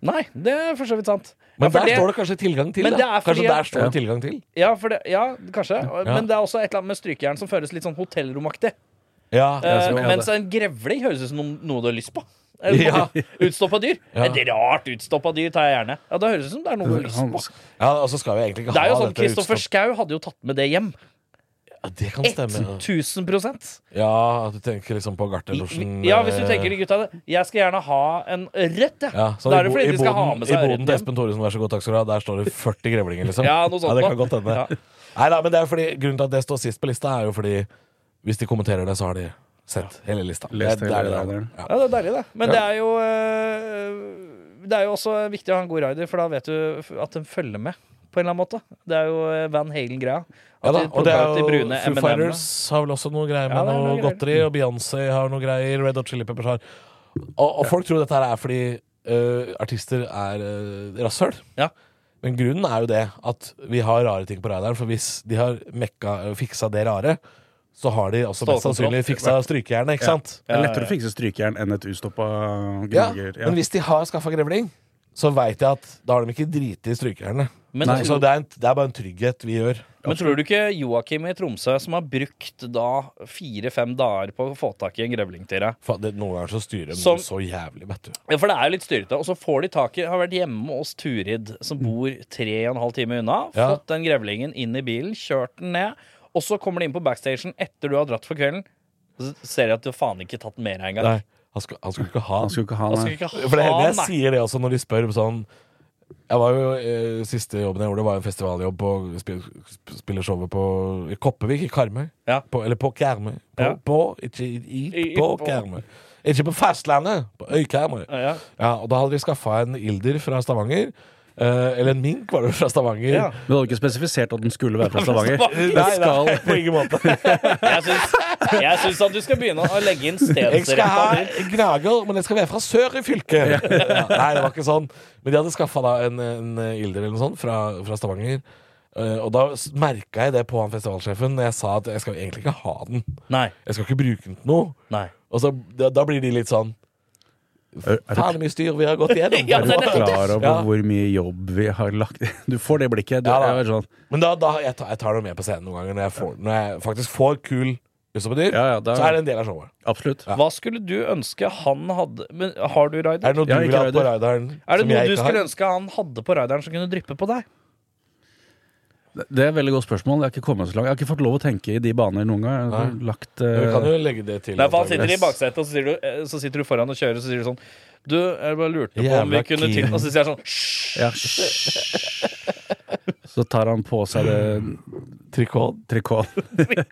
S4: Nei, det er for så vidt sant.
S2: Men
S4: ja, for
S2: der
S4: det,
S2: står det kanskje tilgang til,
S4: Men det
S2: da.
S4: er fordi
S2: Kanskje
S4: at-
S2: der står det tilgang til?
S4: ja, for det, ja, kanskje. Men det er også et eller annet med strykejern som føles litt sånn hotellromaktig.
S2: Ja, jeg
S4: Eh,
S2: tror det.
S4: mens en grevling høres ut som noe, noe du har lyst på. Eh,
S2: Ja.
S4: Utstoppa dyr.
S2: Ja.
S4: Et rart utstoppa dyr tar jeg gjerne. Ja, Det høres ut som det er noe du har lyst på.
S2: ja, og så skal vi egentlig ikke
S4: Det
S2: ha
S4: er jo sånn,
S2: dette
S4: Kristoffer
S2: utstopp-
S4: Schau hadde jo tatt med det hjem.
S2: Ja, det kan stemme.
S4: 1000
S2: Ja, at du tenker liksom på Gartnerlosjen
S4: Ja, hvis du
S2: eh,
S4: tenker de gutta Jeg skal gjerne ha en rett, jeg.
S2: ja, sånn
S4: da
S2: i
S4: er det
S2: bo-
S4: fordi
S2: i
S4: de skal ha
S2: boden-
S4: med
S2: I
S4: seg
S2: boden til
S4: ørreten hjem.
S2: Espen Thoresen, vær så god, takk skal du ha. Der står det 40 grevlinger, liksom.
S4: Ja, noe sånt
S2: det
S4: da.
S2: kan godt hende.
S4: Ja.
S2: Nei da, men det er fordi grunnen til at det står sist på lista, er jo fordi hvis de kommenterer det, så har de sett hele lista.
S5: Lest
S2: Det- det
S5: hele
S2: er det der.
S5: radaren.
S2: Ja.
S4: Ja, det er deilig, det. Men det er jo eh, Det er jo også viktig å ha en god rider, for da vet du f- at den følger med. På en eller annen måte. Det er jo eh, Van Halen-greia.
S2: Ja
S4: At
S2: da,
S4: de
S2: og det
S4: plukker ut
S2: er
S4: de
S2: jo
S4: brune
S2: Foo
S4: M&M-ene.
S2: Fighters har vel også noe greier med
S4: Ja, det er
S2: noe,
S4: noe greier.
S2: godteri, og Beyoncé har noe greier, Red Hot Chili Peppers har Og, og folk tror dette her er fordi øh, artister er øh, rasshøl.
S4: Ja.
S2: Men grunnen er jo det at vi har rare ting på radaren, for hvis de har mekka, øh, fiksa det rare, så har de også mest
S4: Stålkontroll.
S2: sannsynlig fiksa strykejernet, ikke sant?
S5: Det er lettere å fikse strykejern enn et utstoppa
S2: Ja,
S5: gnager. Ja.
S2: men hvis de har skaffa grevling, så veit jeg at da har de ikke driti i strykejernet.
S4: Men,
S2: Så
S4: tro,
S2: det er, en, det er bare en trygghet vi gjør.
S4: men tror du ikke Joakim i Tromsø, som har brukt da fire-fem dager på å få tak i en grevling til deg
S2: Faen, det- Noen ganger så styrer de
S4: Som-
S2: så jævlig, vet du.
S4: Ja, for det er jo litt styrete. Og så får de tak i Har vært hjemme hos Turid, som bor tre og en halv time unna.
S2: Mm. Ja.
S4: Fått den grevlingen inn i bilen, kjørt den ned. Og så kommer de inn på backstagen etter du har dratt for kvelden. Så ser de at du har faen ikke tatt med deg engang.
S2: Nei, han skulle, han skulle ikke ha
S5: Han skulle ikke ha
S4: Da
S5: nei.
S4: skal du ikke
S2: For det
S4: ha
S2: hender jeg
S4: den, nei.
S2: sier det også når de spør sånn jeg var jo, eh, Siste jobben jeg gjorde, var en festivaljobb på sp- sp- spiller showet på i Koppevik, i Karmøy.
S4: Ja.
S2: På, eller på Karmøy. På,
S4: Ja.
S2: på ikke i, i,
S4: I- i-
S2: på
S4: på.
S2: Karmøy. Ikke på fastlandet, på Øykarmøy.
S4: Ja, ja.
S2: Ja, og da hadde de skaffa en ilder fra Stavanger. eh, eller en mink, var det fra Stavanger.
S4: Ja.
S5: Men du hadde ikke spesifisert at den skulle være fra Stavanger.
S4: Stavanger.
S2: Nei, nei, på ingen måte.
S4: Jeg syns, jeg syns at du skal begynne å legge inn
S2: Jeg skal
S4: stedsretta
S2: ha
S4: din.
S2: gnager, men jeg skal være fra sør i fylket. Ja, nei, det var ikke sånn. Men de hadde skaffa da en, en ilder eller noe sånt fra, fra Stavanger. Eh, og da merka jeg det på han festivalsjefen når jeg sa at jeg skal jo egentlig ikke ha den.
S4: Nei.
S2: Jeg skal ikke bruke den til noe.
S4: Nei.
S2: Og så, da, da blir de litt sånn
S5: Er, er,
S2: Faen, hvor mye styr vi har gått igjennom.
S4: Ja,
S5: du,
S4: det
S5: er du
S4: er
S5: klar over
S2: Ja.
S5: hvor mye jobb vi har lagt Du får det blikket. Du,
S2: Ja, da.
S5: er sånn,
S2: Men da, da jeg, tar, jeg tar det med på scenen noen ganger når jeg, får, når jeg faktisk får kul utstoppedyr.
S5: Ja, ja, da-
S2: så er det en del av showet.
S5: absolutt.
S4: Hva skulle du ønske han hadde Men Har du
S2: Er
S4: rider?
S2: det noe
S5: Ja,
S2: du
S5: ikke
S2: vil ha på
S5: raider.
S2: raideren
S4: Er det
S2: som
S4: noe
S2: jeg
S4: du
S2: ikke
S4: skulle
S2: har?
S4: ønske han hadde på rideren som kunne dryppe på deg?
S5: Det er et veldig godt spørsmål. Jeg har ikke kommet så langt Jeg har ikke fått lov å tenke i de baner noen gang. Jeg har lagt, eh,
S2: Vi kan jo legge det til.
S4: Nei, for han
S2: antagelig.
S4: sitter i baksetet, og så sitter, du, eh, så sitter du foran og kjører, og så sier du sånn Du, jeg bare lurte på om vi
S2: Jævla
S4: kunne til
S2: keen.
S4: Og så sier jeg sånn Hysj!
S5: ja, hysj. Så tar han på seg det
S2: Trikot.
S5: trikot.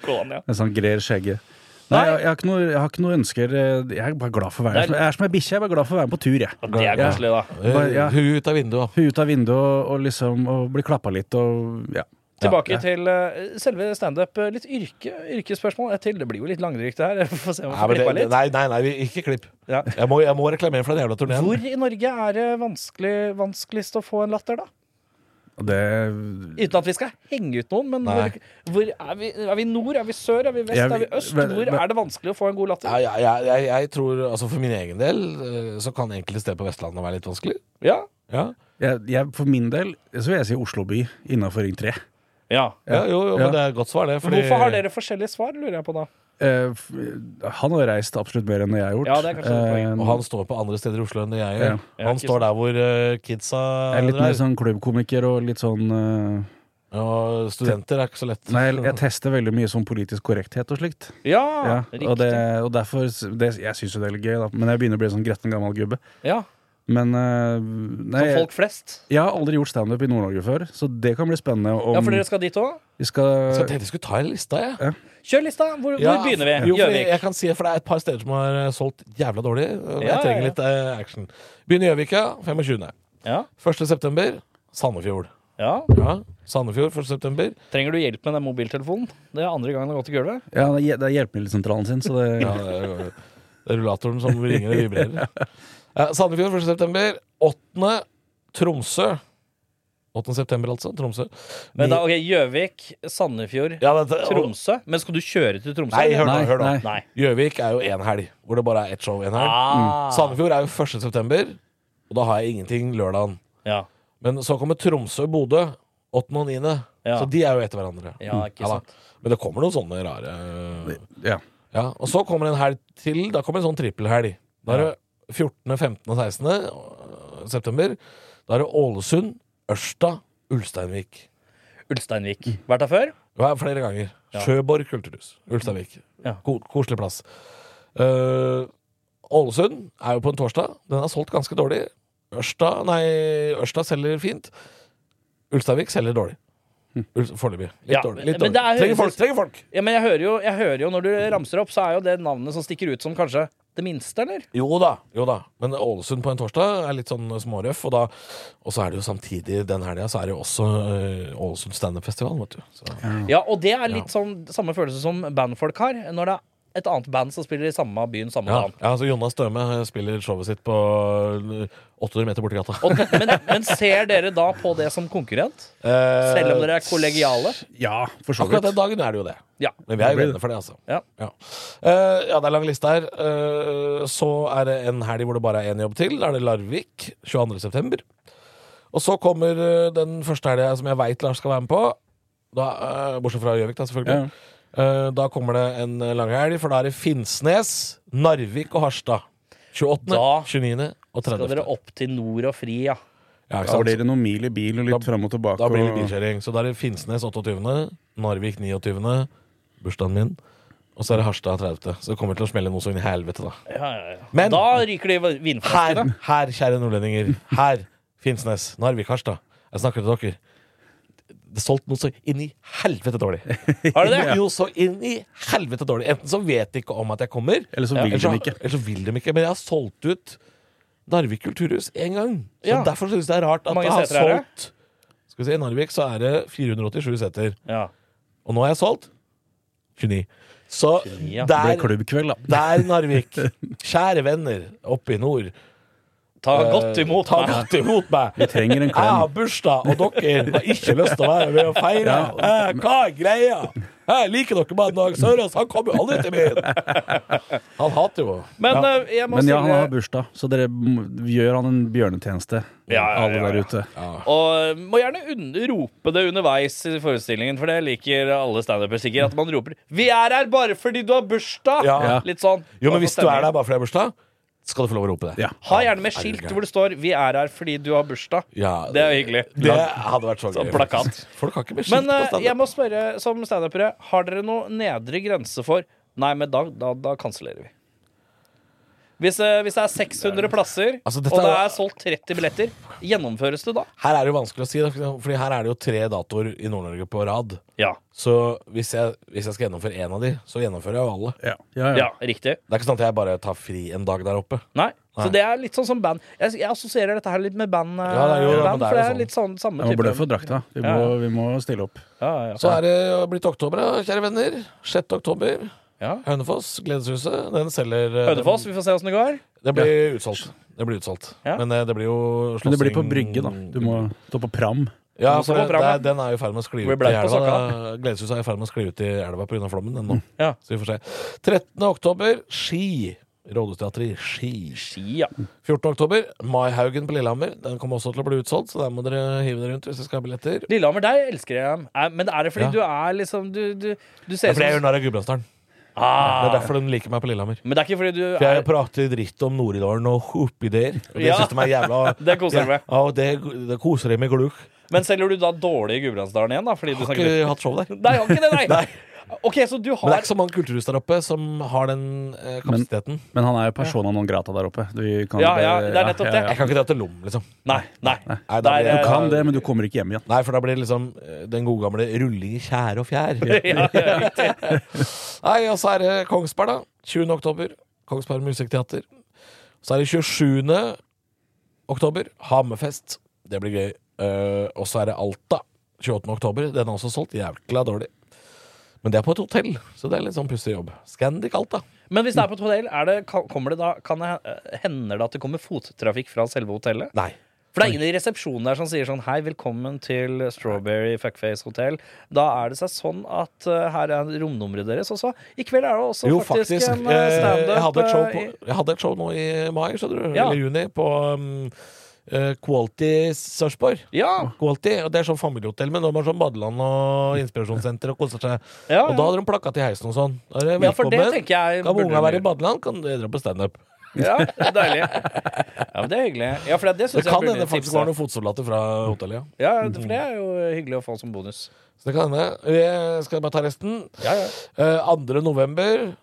S4: gå an, ja.
S5: En sånn grer skjegge. Nei, jeg, jeg, har ikke noe, jeg har ikke noe ønsker. eh, Jeg er bare glad for å være
S4: Det er-
S5: Jeg er som ei bikkje, jeg er bare glad for å være med på tur, jeg.
S4: Det er
S5: Ja.
S4: koselig, da.
S5: Bare- ja.
S2: Hun ut av vinduet.
S5: Hun ut av vinduet og, og liksom og bli klappa litt og ja.
S4: Tilbake til eh, selve standup. Eh, Litt yrke, yrkesspørsmål eh, til. Det blir jo litt langdrygt det her. Vi Får se om vi
S2: Nei,
S4: får
S2: men
S4: klippa
S2: det,
S4: litt.
S2: nei, nei, nei, vi- ikke klipp.
S4: Ja.
S2: Jeg må, jeg må reklamere for den jævla turneen.
S4: Hvor i Norge er det vanskelig, vanskeligst å få en latter, da?
S5: Og det
S4: Uten at vi skal henge ut noen, men
S2: Nei.
S4: hvor, hvor er, vi, er vi nord, er vi sør, er vi vest,
S5: Jeg-
S4: er vi øst?
S5: men-
S4: Hvor
S5: men-
S4: er det vanskelig å få en god
S2: Ja,
S4: latter?
S2: ja, ja, jeg, jeg tror, altså For min egen del eh, så kan enkelte steder på Vestlandet være litt vanskelig.
S4: Ja.
S2: Ja,
S5: jeg, jeg, For min del så vil jeg si Oslo by innafor Ring 3.
S4: ja.
S2: ja jo, jo, men
S5: Ja.
S2: det er et godt svar, det. fordi-
S4: Hvorfor har dere forskjellige svar, lurer jeg på da?
S5: Eh, f- han har reist absolutt mer enn det jeg har gjort.
S4: Ja, det er kanskje det
S5: Eh,
S4: poenget.
S2: Og han står på andre steder i Oslo enn det jeg gjør.
S5: Ja.
S4: Ja,
S2: Han
S4: ikke
S2: står
S4: sant.
S2: der hvor eh, kidsa
S5: jeg er litt mer
S2: er.
S5: sånn klubbkomiker og litt sånn eh,
S2: Og studenter er ikke så lett.
S5: Nei, jeg, jeg tester veldig mye sånn politisk korrekthet og slikt.
S4: Ja,
S5: Ja,
S4: riktig.
S5: og, det, og derfor s- det, Jeg syns jo det er litt gøy, da, men jeg begynner å bli sånn gretten gammel gubbe.
S4: ja.
S5: Men eh, nei,
S4: Som folk flest.
S5: jeg har aldri gjort standup i Nord-Norge før, så det kan bli spennende om
S4: Ja, for dere skal dit òg?
S5: vi skal
S2: Så jeg tenkte jeg skulle ta en lista, jeg.
S4: Kjør lista! Hvor,
S2: Ja,
S4: hvor begynner vi?
S2: Jo, for jeg,
S4: Gjøvik.
S2: jeg kan si, for det er et par steder som har eh, solgt jævla dårlig. og
S4: Ja,
S2: Jeg trenger
S4: ja.
S2: litt eh, action. Begynner i Gjøvika 25.
S4: Ja,
S2: 1. september Sandefjord.
S4: ja.
S2: Ja, Sandefjord 1. september.
S4: Trenger du hjelp med den mobiltelefonen? Det er andre gangen det har gått i gulvet.
S5: Ja, det er det er hjelpemiddelsentralen sin, så det
S2: Ja, det er jo- det er rullatoren som ringer og vibrerer. Ja, Sandefjord 1. september. 8. Tromsø. 8. september, altså. Tromsø.
S4: Men da,
S2: Ni-
S4: ok, Gjøvik, Sandefjord,
S2: ja, det,
S4: Tromsø. Men skal du kjøre til Tromsø?
S2: Nei,
S4: eller?
S2: hør nå.
S5: Nei,
S2: hør nå.
S5: nei.
S4: Nei.
S2: Gjøvik er jo én helg, hvor det bare er ett show. En helg.
S4: Ah.
S2: Sandefjord er jo 1. september. og da har jeg ingenting lørdagen.
S4: Ja.
S2: Men så kommer Tromsø og Bodø 8. og 9.
S4: Ja.
S2: Så de er jo etter hverandre.
S4: Ja, ikke
S2: da.
S4: sant.
S2: Men det kommer noen sånne rare
S5: Ja.
S2: ja. Og så kommer en helg til. Da kommer en sånn trippelhelg. Da er det 14., 15. og 16. øh, september. Da er det Ålesund, Ørsta, Ulsteinvik.
S4: Ulsteinvik. Vært der før?
S2: Ja, flere ganger.
S4: Ja.
S2: Sjøborg kulturhus. Ulsteinvik.
S4: Ja.
S2: Ko koselig plass. Eh, Ålesund er jo på en torsdag. Den er solgt ganske dårlig. Ørsta, nei, Ørsta selger fint. Ulsteinvik selger dårlig. Ul- Foreløpig. Litt
S4: Hm. Ja,
S2: dårlig.
S4: men-
S2: Litt
S4: men
S2: dårlig.
S4: det er-
S2: Trenger folk! trenger folk
S4: Ja, men jeg hører, jo, jeg hører jo, når du ramser opp, så er jo det navnet som stikker ut som kanskje det minste, eller?
S2: Jo da, jo da. Men Ålesund på en torsdag er litt sånn smårøff. Og, da- og så er det jo samtidig den helga så er det jo også eh, Ålesund standup-festival, vet du. Så,
S4: Ja, og det er litt sånn samme følelse som bandfolk har, når det er et annet band som spiller i samme byen samme
S2: ja.
S4: dagen.
S2: ja, så Jonas Døme spiller showet sitt på eh, 800 meter borti gata.
S4: Og, men, men ser dere da på det som konkurrent? Selv om dere er kollegiale?
S5: ja, for så
S2: Eh, Akkurat
S5: vidt.
S2: den dagen er det jo det.
S4: Ja.
S2: Men vi er jo
S5: blir det.
S2: redde for det, altså.
S4: Ja.
S2: Ja. Eh, ja, det er lang liste her. Eh, så er det en helg hvor det bare er én jobb til. Da er det Larvik 22. september. Og så kommer eh, den første helga som jeg veit Lars skal være med på. Da, eh, bortsett fra Gjøvik, da, selvfølgelig. Eh, da kommer det en lang helg, for da er det Finnsnes, Narvik og Harstad. 28.,
S4: Da
S2: 29. og
S4: Skal
S2: 30.
S4: dere opp til nord og fri, ja.
S2: Ja, ikke
S5: Da blir
S2: sant?
S5: det noen mil i bil og
S2: Da-
S5: litt fram og tilbake.
S2: Da blir det
S5: og-
S2: bilkjøring. Så da er det Finnsnes 28., Narvik 29., bursdagen min, og så er det Harstad 30. Så det kommer til å smelle noe så inn i helvete, da.
S4: ja, ja, ja.
S2: Men-
S4: da ryker det i
S2: Her,
S4: vinflaskene.
S2: her, kjære nordlendinger. Her, Finnsnes. Narvik, Harstad. Jeg snakker til dere. Det er solgt noe så inn i helvete dårlig.
S4: Har du det?
S2: Jo, så inn i helvete dårlig. Enten så vet de ikke om at jeg kommer,
S5: Eller så
S4: Ja,
S5: vil
S2: eller så,
S5: de ikke.
S2: eller så vil de ikke. Men jeg har solgt ut Narvik kulturhus én gang. Så
S4: Ja.
S2: derfor syns jeg det er rart at
S4: Hvor mange
S2: jeg har
S4: seter er det?
S2: solgt Skal vi se, I Narvik så er det 487 seter.
S4: Ja.
S2: Og nå har jeg solgt 29. Så
S4: 29, ja.
S5: Det er
S2: der,
S5: klubbkveld, da.
S2: der, Narvik. Kjære venner oppe i nord.
S4: Ta
S2: Eh,
S4: godt imot
S2: Ta
S4: meg.
S2: godt imot meg.
S5: Vi trenger en
S2: Jeg har
S5: klem.
S2: bursdag, og dere har ikke lyst til å være med og feire. Eh, Hva er greia? Jeg liker dere bare Dag Sørås. Han kommer jo aldri til byen. Han hater jo
S4: Men eh, jeg må
S5: Men ja, han
S4: stille
S5: har bursdag, så dere m- gjør han en bjørnetjeneste,
S4: Ja, ja,
S5: alle
S4: ja,
S5: der
S4: ja.
S5: ute.
S4: Og eh, må gjerne un rope det underveis i forestillingen, for det liker alle standupere sikkert. At man roper 'Vi er her bare fordi du har bursdag!'
S2: Ja.
S4: Litt sånn.
S2: Jo, men
S4: Bare
S2: hvis
S4: for
S2: du er
S4: stemningen.
S2: der bare fordi det er bursdag, skal du få lov å rope det.
S5: Ja.
S4: Ha gjerne med skilt hvor det står 'Vi er her fordi du har bursdag'.
S2: Ja,
S4: Det er jo hyggelig.
S2: Det hadde vært så gøy.
S4: Sånn plakat.
S2: faktisk. Folk har ikke med skilt
S4: Men
S2: på
S4: eh, jeg
S2: stedet.
S4: må spørre som standupere, har dere noe nedre grense for Nei, men da, da, da kansellerer vi. Hvis, eh, hvis det er 600 plasser,
S2: Altså, dette
S4: og det
S2: er jo-
S4: er solgt 30 billetter, gjennomføres det da?
S2: Her er det jo vanskelig å si, da, Fordi her er det jo tre datoer i Nord-Norge på rad.
S4: Ja.
S2: Så hvis jeg, hvis jeg skal gjennomføre én av de, så gjennomfører jeg jo alle.
S5: Ja, ja, ja.
S4: ja riktig.
S2: Det er ikke sånn at jeg bare tar fri en dag der oppe.
S4: Nei. Så
S2: Nei.
S4: det er litt sånn som band. Jeg, jeg assosierer dette her litt med band. eh,
S2: Ja, det er jo det, men
S4: band
S2: det er jo
S4: for det er
S2: sånn.
S4: litt sånn samme
S5: Jeg må
S4: type
S5: blø for drakta. Vi må,
S4: Ja.
S5: vi må stille opp.
S4: Ja, ja, ja.
S2: Så er det jo blitt oktober, da, kjære venner. 6. oktober.
S4: Ja.
S2: Hønefoss, Gledeshuset. Den selger eh,
S4: Hønefoss, vi får se åssen det går.
S2: Det blir utsolgt. Det blir utsolgt.
S4: Ja.
S2: Men eh, det blir jo slåssing
S5: Men det blir på brygge, da.
S4: Mm.
S5: Du må stå på pram.
S2: Ja,
S4: Du må
S2: for
S4: stå
S2: det,
S4: på
S2: det,
S4: pram, ja.
S2: er- den er jo i ferd med å skli ut
S4: Blir
S2: i
S4: bleik på
S2: elva. da. Gledeshuset er i ferd med å skli ut i elva pga. flommen ennå.
S4: Ja.
S2: Så vi får se. 13. oktober, Ski. Rådhusteatret i Ski.
S4: Ski, ja.
S2: 14. oktober, Maihaugen på Lillehammer. Den kommer også til å bli utsolgt, så der må dere hive dere rundt hvis dere skal ha billetter.
S4: Lillehammer, der elsker jeg dem. Eh, Men er det fordi
S2: Ja.
S4: du er liksom Du, du, du
S2: Det
S4: ser
S2: er fordi jeg
S4: ut
S2: gjør narr av Gudbrandsdalen. Det er
S4: ah.
S2: derfor de liker meg på Lillehammer.
S4: Men det er ikke fordi du
S2: For jeg
S4: er
S2: prater dritt om Nord-Idalen og hopideer. Og det
S4: Ja.
S2: synes de er jævla
S4: Det koser
S2: ja.
S4: jeg med.
S2: Ja, og det, det koser jeg med gluk.
S4: Men selger du da dårlig i Gudbrandsdalen igjen, da? Fordi du
S2: Har
S4: snakker
S2: ikke hatt show der. Men
S4: Nei, jeg har ikke det, nei! OK, så du
S2: det er
S4: har
S2: ikke så mange kulturhus der oppe som har den eh, kapasiteten.
S5: Men han er jo persona non grata der oppe. Du kan
S4: Ja,
S5: bare-
S4: ja, det er nettopp det.
S2: jeg kan ikke dra til Lom, liksom.
S4: Nei, nei.
S2: Nei, da
S4: Der,
S2: blir jeg-
S5: Du
S4: eh,
S5: kan det, men du kommer ikke hjem igjen.
S2: Nei, for da blir det liksom eh, den gode gamle rulling i tjære og fjær.
S4: ja, ja, riktig.
S2: Nei, og så er det Kongsberg, da. 20. oktober. Kongsberg Musikkteater. Så er det 27. oktober. Hammerfest. Det blir gøy. Eh, og så er det Alta. 28. oktober. Den er også solgt. Jævla dårlig. Men det er på et hotell, så det er litt sånn pussig jobb. Scandic Alta.
S4: Men hvis det er på et eh, hotell, er det, kan- kommer det da, kan det, hender det at det kommer fottrafikk fra selve hotellet?
S2: Nei.
S4: For det er ingen i resepsjonen der som sier sånn Hei, velkommen til Strawberry Fuckface Hotel. Da er det seg sånn at eh, her er romnummeret deres også. I kveld er det også
S2: Jo,
S4: faktisk,
S2: faktisk.
S4: en eh,
S2: eh,
S4: standup.
S2: Jeg hadde et show,
S4: eh,
S2: på,
S4: i-
S2: jeg hadde et show nå i mai, skjønner du.
S4: Ja.
S2: Eller juni, på um, eh, Quality Sarpsborg.
S4: ja,
S2: Quality, og Det er sånn familiehotell, men de har sånn badeland og inspirasjonssenter og koser seg.
S4: ja,
S2: Og da hadde de plakat i heisen og sånn. Da er det
S4: ja, for det
S2: velkommen.
S4: tenker jeg
S2: kan
S4: burde
S2: unga være i
S4: du-
S2: badeland, kan dere dra på standup.
S4: Ja, det er deilig. Ja, men det er hyggelig. Ja, for det, det
S2: Det
S4: syns jeg
S2: kan
S4: burde
S2: hende det faktisk
S4: tipse.
S2: var noen fotsoldater fra hotellet, ja.
S4: Ja, for det er jo hyggelig å få som bonus.
S2: Så det kan hende. Vi skal bare ta resten.
S4: Ja, ja.
S2: Eh, 2. november,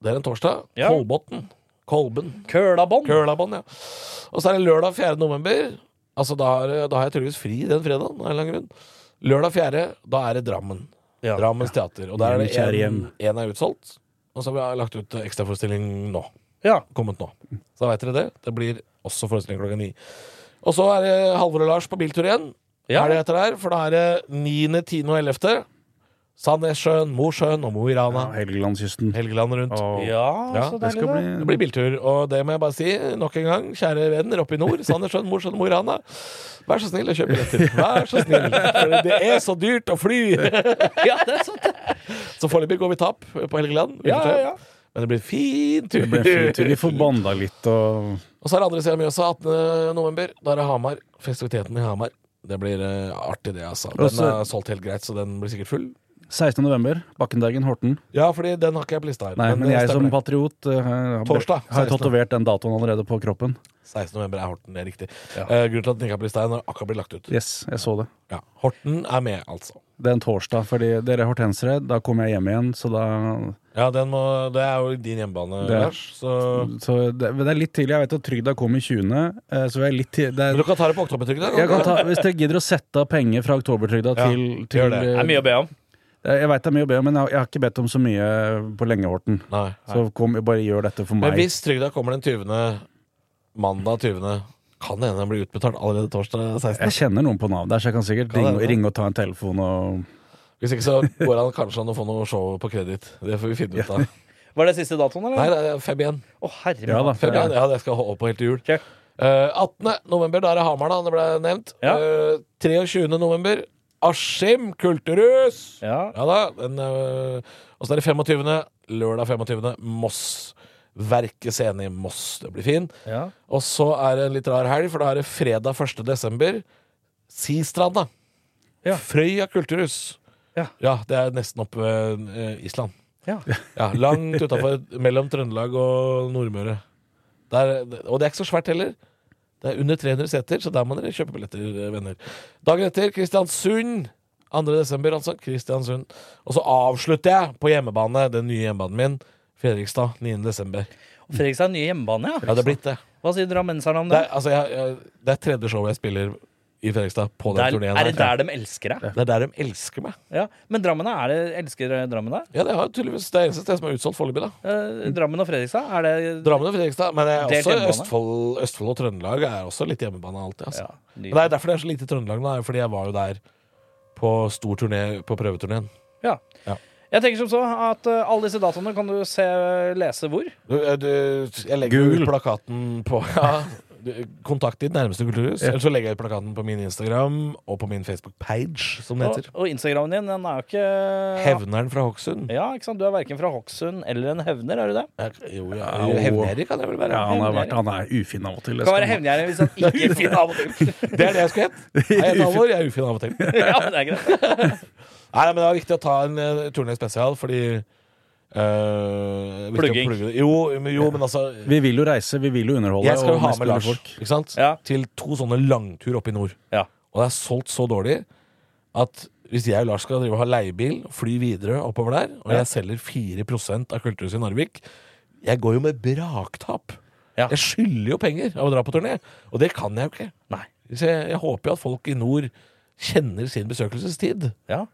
S2: det er en torsdag,
S4: Ja.
S2: Kolbotn. Kolben.
S4: Kølabånd.
S2: Kølabånd, ja. Og så er det lørdag 4. november. Altså, da har, da har jeg tydeligvis fri den fredagen, av en eller annen grunn. Lørdag 4., da er det Drammen.
S4: Ja.
S2: Drammens teater. Og der er
S5: Hjem, kjære
S2: det en,
S5: hjem.
S2: en er utsolgt. Og så har vi lagt ut ekstraforestilling nå.
S4: Ja.
S2: Kommet nå. Så da veit dere det. Det blir også forestilling klokka ni. Og så er det Halvor og Lars på biltur igjen.
S4: Ja.
S2: Er det etter der? For da er det 9., 10. og 11. Sandnessjøen, Mosjøen og Mo i Rana.
S5: Ja, Helgelandskysten.
S2: Helgeland rundt.
S5: Og
S4: ja,
S2: Ja,
S4: så
S5: det
S4: deilig,
S5: skal
S4: det.
S2: Det
S5: bli
S2: blir biltur, og det må jeg bare si nok en gang. Kjære venner oppe i nord, Sandnessjøen, Mosjøen, Mo i Rana. Vær så snill å kjøpe billetter. Vær så snill. For det er så dyrt å fly!
S4: Ja, det er sant.
S2: Så foreløpig går vi tap på Helgeland.
S4: Ja, ja, ja.
S2: Men det blir fin tur.
S5: Det ble fint. Vi får banda litt og
S2: Og så er det andre sida av Mjøsa, 18. november. Da er det Hamar. Festiviteten i Hamar. Det blir eh, artig, det, altså. Den
S5: Også-
S2: er solgt helt greit, så den blir sikkert full.
S5: 16. november, Bakkenbergen, Horten.
S2: Ja, fordi den har ikke jeg på lista her.
S5: Nei, men
S2: det
S5: jeg som
S2: stemmer.
S5: patriot eh, har,
S2: Torsdag,
S5: har
S2: 16.
S5: tatovert den datoen allerede på kroppen.
S2: 16. november er Horten, det er riktig.
S5: Ja.
S2: Eh, grunnen til at den ikke er på lista, er når den akkurat blir lagt ut.
S5: Yes, jeg så det.
S2: Ja. Horten er med, altså.
S5: Det er en torsdag, fordi dere er hortensere. Da kommer jeg hjem igjen, så da
S2: Ja, den må, det er jo din hjemmebane,
S5: Det er-
S2: Lars. Så,
S5: så det, men det er litt tidlig. Jeg vet at trygda kom i 20., eh, så vi er litt tidlig det
S2: men du
S5: er,
S2: kan ta det på oktobertrykket. da.
S5: jeg kan ta, Hvis dere gidder å sette av penger fra oktobertrygda
S2: Ja,
S5: til,
S2: gjør
S5: til eh,
S2: det.
S4: Det er mye å be om.
S5: Jeg, jeg veit det er mye å be om, men jeg, jeg har ikke bedt om så mye på lenge, Horten.
S2: Nei.
S5: Så kom, bare gjør dette for
S2: Men
S5: meg.
S2: hvis trygda kommer den 20. mandag 20., kan det hende den blir utbetalt allerede torsdag 16.
S5: Jeg kjenner noen på Nav der, så jeg kan sikkert
S2: Kan det
S5: ringe,
S2: hende?
S5: ringe og ta en telefon og
S2: Hvis ikke så går han kanskje an å få noe show på kreditt. Det får vi finne ut av.
S4: Var det siste datoen, eller?
S2: Nei, det er fem igjen.
S4: Å, herre
S5: Ja da.
S4: min.
S2: Fem igjen. Ja, det skal jeg holde på helt til jul.
S4: Kjør.
S2: Eh, 18. november, da er det Hamar, da. Det ble nevnt.
S4: Ja.
S2: Eh, 23. november, Askim kulturhus.
S4: Ja.
S2: Ja da. Den, øh, og så er det 25. Lørdag 25. Moss. Verket scene i Moss. Det blir fin.
S4: ja.
S2: Og så er det en litt rar helg, for da er det fredag 1. desember. Sistranda.
S4: Ja.
S2: Frøya kulturhus.
S4: Ja.
S2: det er nesten oppe ved eh, Island.
S4: Ja.
S2: Ja, Langt utafor mellom Trøndelag og Nordmøre. Der, og det er ikke så svært heller. Det er under 300 seter, så der må dere kjøpe billetter, eh, venner. Dagen etter Kristiansund. 2. desember, altså. Kristiansund. Og så avslutter jeg på hjemmebane, den nye hjemmebanen min. Fredrikstad 9. desember.
S4: Og Fredrikstad er ny hjemmebane, ja.
S2: Ja, det er blitt det.
S4: Hva sier drammenserne om
S2: Det
S4: det?
S2: er, altså, jeg, jeg, det er tredje showet jeg spiller i Fredrikstad på den
S4: Der,
S2: turneen.
S4: er det der de elsker deg?
S2: det er der de elsker meg.
S4: Ja. Men Drammen, er det, elsker Drammen deg?
S2: Ja, Det er tydeligvis det eneste stedet som er utsolgt foreløpig. da.
S4: Eh, Drammen og Fredrikstad, er det
S2: Drammen og Fredrikstad. Men jeg, er
S4: Delt
S2: også
S4: hjemmebane.
S2: Østfold, Østfold og Trøndelag er også litt hjemmebane alltid. Altså.
S4: Ja, nydelig.
S2: Men det er derfor det er så lite Trøndelag nå, er jo fordi jeg var jo der på stor turné på prøveturneen.
S4: Ja.
S2: Ja.
S4: Jeg tenker som så at eh, alle disse datoene kan du se, lese hvor.
S2: Du, eh, du, jeg legger jo
S5: Google.
S2: ut plakaten på ja, du, Kontakt ditt nærmeste kulturhus. Eller så legger jeg ut plakaten på min Instagram og på min Facebook-page, som det
S4: Og,
S2: heter.
S4: og Instagramen din, den er jo ikke
S2: Hevneren fra Hokksund.
S4: Ja, ikke sant? Du er verken fra Hokksund eller en hevner, er du det?
S2: Jeg- Jo, ja, hevngjerrig kan jeg vel være.
S5: Ja, han, har vært, han er ufin av og til. det
S4: Du kan
S5: skal
S4: være
S5: man-
S4: hevngjerrig hvis han ikke er fin av og til.
S2: Det er det jeg skulle hett. Jeg heter Halvor, jeg er ufin av og til. Nei,
S4: ja, det er greit.
S2: men Det var viktig å ta en uh, turné spesial, fordi eh, viktig å
S4: Plugging.
S2: plugge det. Jo, men- jo, men altså
S5: Vi vil jo reise, vi vil jo underholde.
S2: Jeg skal
S5: og
S2: jo ha
S5: mest
S2: med
S5: mulig
S2: Lars
S5: folk.
S2: ikke sant?
S4: Ja.
S2: til to sånne langtur oppe i nord.
S4: Ja.
S2: Og det er solgt så dårlig at hvis jeg og Lars skal drive og ha leiebil, fly videre oppover der, og jeg selger 4 av kulturhuset i Narvik Jeg går jo med braktap.
S4: Ja.
S2: Jeg skylder jo penger av å dra på turné, og det kan jeg jo ikke.
S4: Nei.
S2: Så jeg, jeg håper jo at folk i nord kjenner sin besøkelsestid.
S4: Ja.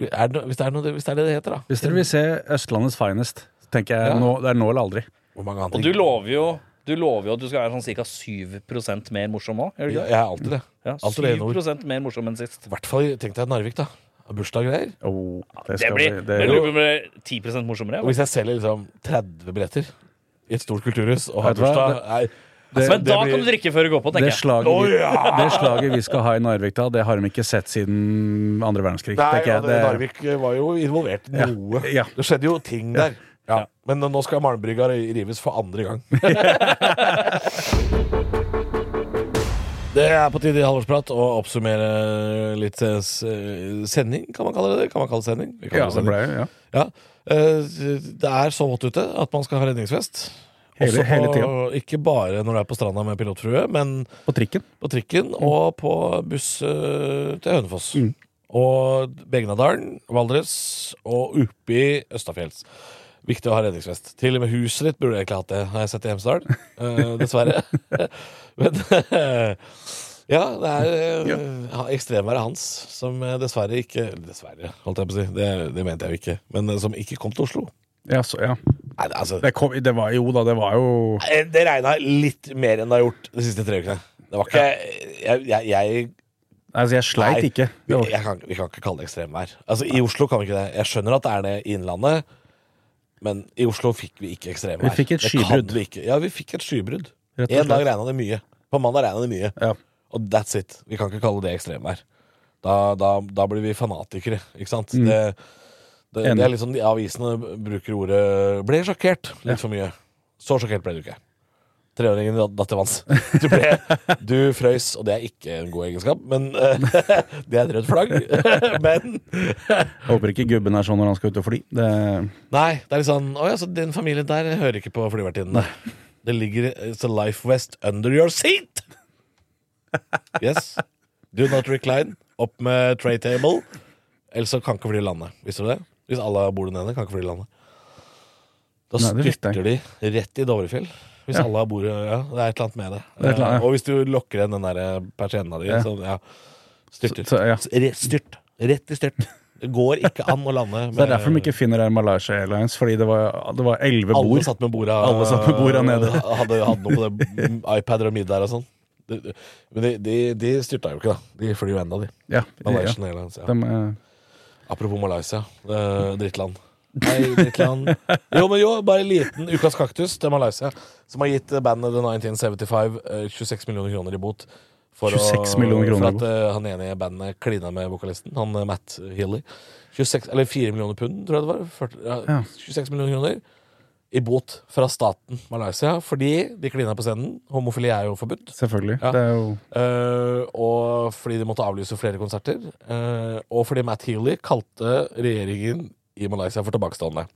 S2: Er det, noe- hvis, det er noe, hvis det er det det heter, da.
S5: Hvis dere vil se Østlandets finest, så tenker jeg
S2: Ja.
S5: nå, det er nå eller aldri.
S2: Hvor mange andre
S4: Og du lover jo du lover jo at du skal være sånn ca. 7 mer morsom òg?
S2: Ja, Jeg er alltid det.
S4: Ja,
S2: alltid det i nord.
S4: 7 mer morsom enn sist.
S2: I hvert fall tenkte jeg Narvik, da. Bursdag og greier.
S5: Oh,
S4: Det
S5: skal
S4: blir,
S5: bli-
S4: det
S5: det-
S4: blir 10 morsommere.
S2: Og hvis jeg selger liksom 30 billetter i et stort kulturhus og har
S5: Vet du hva?
S2: bursdag er,
S5: Det-
S4: Altså, Men
S5: det
S4: da
S5: blir-
S4: kan du drikke før du går på,
S5: Det
S4: tenker jeg.
S5: slaget, vi, det slaget vi skal ha i Narvik, da, det har de ikke sett siden andre verdenskrig.
S2: Nei,
S5: tenker jeg.
S2: og det,
S5: Det-
S2: Narvik var jo involvert i noe.
S5: ja.
S2: Det skjedde jo ting der. Ja. Men nå skal Malmbrygga rives for andre gang. Det er på tide i Halvorsprat å oppsummere litt eh, s- eh, sending, kan man kalle det. det? Kan man kalle det sending? Vi kan
S5: ja,
S2: kalle det
S5: det
S2: sending.
S5: ble, ja.
S2: Ja. Eh, Det er så vått ute at man skal ha redningsvest.
S5: Hele-
S2: Også på,
S5: hele tida.
S2: Ikke bare når du er på stranda med pilotfrue, men
S5: På trikken.
S2: på trikken og på buss eh, til Hønefoss. Og Begnadalen, Valdres og oppi Østafjells. Viktig å ha redningsvest. Til og med huset ditt burde jeg egentlig hatt det, har jeg sett i Hemsedal. Eh, dessverre. Men ja, det er eh, ha- ekstremværet hans som eh, dessverre ikke Dessverre, holdt jeg på å si. Det, det mente jeg jo ikke. Men eh, som ikke kom til Oslo.
S5: Ja, så, ja.
S2: Nei, det- altså
S5: Det, kom, det var jo da, det var jo
S2: Eh, Det regna litt mer enn det har gjort de siste tre ukene. Det var ikke Jeg, jeg, jeg
S5: Altså, jeg sleit
S2: Nei,
S5: ikke.
S2: Vi,
S5: Det var,
S2: jeg kan, vi kan ikke kalle det ekstremvær. Altså, I Oslo kan vi ikke det. Jeg skjønner at det er det i Innlandet, men i Oslo fikk vi ikke ekstremvær.
S5: Vi fikk et
S2: Det
S5: skybrudd.
S2: kan vi ikke. Ja, vi fikk et skybrudd.
S5: Rett og
S2: En dag
S5: slett.
S2: regna det mye. På mandag regna det mye.
S5: ja.
S2: Og that's it. Vi kan ikke kalle det ekstremvær. Da, da, da blir vi fanatikere, ikke sant? Det, det, det er
S5: Enig.
S2: litt sånn de avisene bruker ordet 'ble sjokkert' litt for mye. Så sjokkert ble du ikke. Treåringen dat- datt i vanns. Du, ble, du frøys, og det er ikke en god egenskap, men eh, Det er et rødt flagg. men
S5: Jeg håper ikke gubben er sånn når han skal ut og fly. Det,
S2: Nei, det er litt sånn Å ja, så den familien der hører ikke på flyvertinnene. Det ligger It's a life vest under your seat! Yes. Do not recline. Opp med tray table. Ellers så kan ikke fly lande. Visste du det? Hvis alle bor der nede, kan ikke fly lande. Da
S5: Nei, det visste
S2: styrter de rett i Dovrefjell. Hvis alle har bord Ja, det er et eller annet med det.
S5: er et eller annet, ja.
S2: Og hvis du lokker igjen den der persiennen din,
S5: Ja.
S2: så ja. Styrter.
S5: så, ja. så
S2: Re- Styrt. Rett i styrt. Det går ikke an å lande.
S5: det er derfor de ikke finner Air Malaysia Airlines, fordi det var det var elleve
S2: Alle
S5: bord.
S2: satt med borda,
S5: Alle satt med borda nede.
S2: Hadde, hadde noe på det m, iPader og midd der og sånn. Det- Men de, de, de styrta jo ikke, da. De flyr jo ennå, de.
S5: Ja, ja.
S2: Malaysian Airlines. Ja.
S5: De, eh,
S2: Apropos Malaysia. eh, drittland. Nei, drittland. Jo, men jo, bare en liten ukas kaktus til Malaysia, som har gitt eh, bandet The 1975 eh, 26 millioner kroner i bot. For,
S5: 26 millioner kroner
S2: for
S5: i
S2: at eh, han ene i bandet klina med vokalisten, han eh, Matt Healy. 26, eller 4 millioner pund, tror jeg det var. 40, ja,
S5: Ja.
S2: 26 millioner kroner i bot fra staten Malaysia fordi de klina på scenen. Homofili er jo forbudt.
S5: selvfølgelig.
S2: Ja.
S5: Det er jo
S2: Eh, og fordi de måtte avlyse flere konserter. eh, og fordi Matt Healy kalte regjeringen i Malaysia for tilbakestående.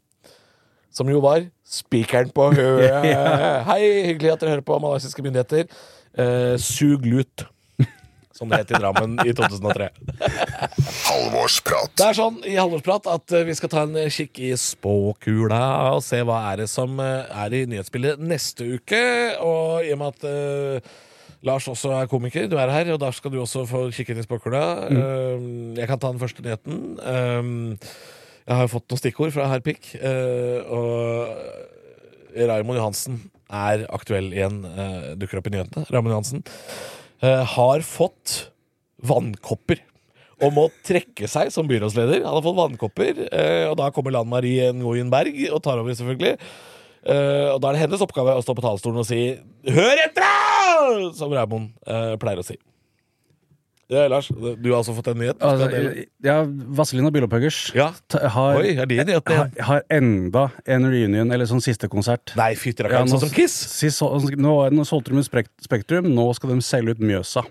S2: Som jo var spikeren på hø- Hei, hyggelig at dere hører på malaysiske myndigheter. Eh, sug lut. Som det het i Drammen i 2003.
S3: Halvorsprat.
S2: Det er sånn i Halvorsprat at eh, vi skal ta en eh, kikk i spåkula og se hva er det som eh, er i nyhetsbildet neste uke. Og i og med at eh, Lars også er komiker, du er her, og da skal du også få kikke inn i spåkula. Eh, jeg kan ta den første nyheten. Eh, jeg har jo fått noen stikkord fra herr Pick, eh, og Raymond Johansen er aktuell igjen, eh, dukker opp i nyhetene. Raymond Johansen eh, har fått vannkopper og må trekke seg som byrådsleder. Han har fått vannkopper, eh, og da kommer Lan Marie Nguyen Berg og tar over, selvfølgelig. Eh, og da er det hennes oppgave å stå på talerstolen og si 'hør etter', som Raymond eh, pleier å si. Ja, Lars, du har også fått en nyhet.
S5: altså,
S2: Skal jeg dele?
S5: Ja, Vazelina Bilopphøggers
S2: ja.
S5: ta- har,
S2: Oi, er de nyhetene igjen?
S5: har, har enda en reunion, eller sånn siste konsert.
S2: Nei, fytti
S5: Ja,
S2: rakkeren,
S5: nå-
S2: sånn som Kiss!
S5: Sist, så- nå, er- nå solgte de ut Spek- Spektrum, nå skal de selge ut Mjøsa.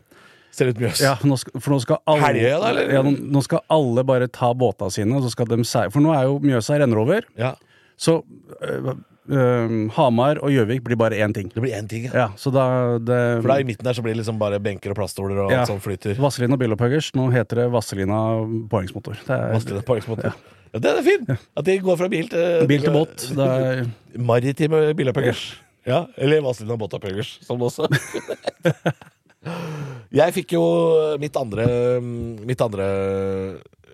S2: Ser ut mjøs.
S5: Ja, nå skal, for nå skal alle
S2: Helge, da, eller?
S5: Ja, nå- nå skal alle bare ta båta sine, og så skal de se- For nå er jo Mjøsa renner over,
S2: Ja.
S5: så øh, øh, Hamar og Gjøvik blir bare én ting.
S2: Det blir én ting, ja.
S5: Ja, så da det,
S2: For da i midten der så blir det liksom bare benker og plaststoler og
S5: Ja.
S2: alt sånt flyter.
S5: Vazelina Bilopphøggers, nå heter det Vazelina påhengsmotor. Det er
S2: Vazelina påhengsmotor. Ja, det er fint! At de går fra bil til
S5: bil til båt. Det er
S2: Maritime bilappøggers. Ja, eller Vazelina båtappøggers, som det også. Jeg fikk jo mitt andre Mitt andre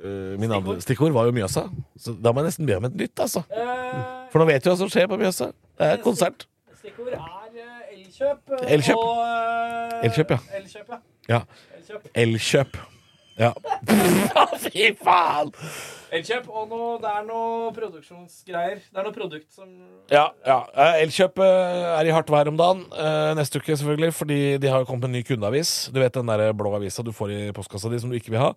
S2: øh, Min andre stikkord var jo Mjøsa. Så da må jeg nesten be om et nytt, altså.
S4: Eh,
S2: For nå vet du hva som skjer på Mjøsa. Det er konsert.
S6: Stikkord er eh, Elkjøp. eh,
S2: Elkjøp.
S6: Og, eh,
S2: Elkjøp, ja.
S6: Elkjøp, ja.
S2: Ja.
S6: Elkjøp.
S2: Elkjøp. Ja.
S4: Fy faen! Elkjøp og noe, det er noe produksjonsgreier. Det er noe produkt som
S2: Ja, ja. Eh, Elkjøp eh, er i hardt vær om dagen. eh, Neste uke, selvfølgelig, fordi de har jo kommet med en ny kundeavis. Du vet den der blå avisa du får i postkassa di som du ikke vil ha?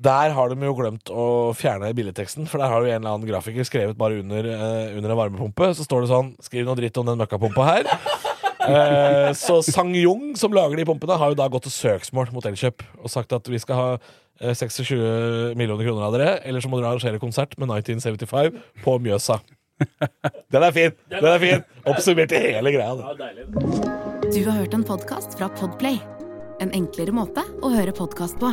S2: Der har de jo glemt å fjerne billedteksten, for der har jo en eller annen grafiker skrevet bare under, eh, under en varmepumpe. Så står det sånn Skriv noe dritt om den møkkapumpa her. Eh, så Sang-Jung, som lager de pumpene, har jo da gått til søksmål mot Elkjøp og sagt at vi skal ha eh, 26 millioner kroner av dere, eller så må dere arrangere konsert med 1975 på Mjøsa. Den er fin! Den er fin Oppsummerte hele greia. da.
S1: Du har hørt en podkast fra Podplay. En enklere måte å høre podkast på.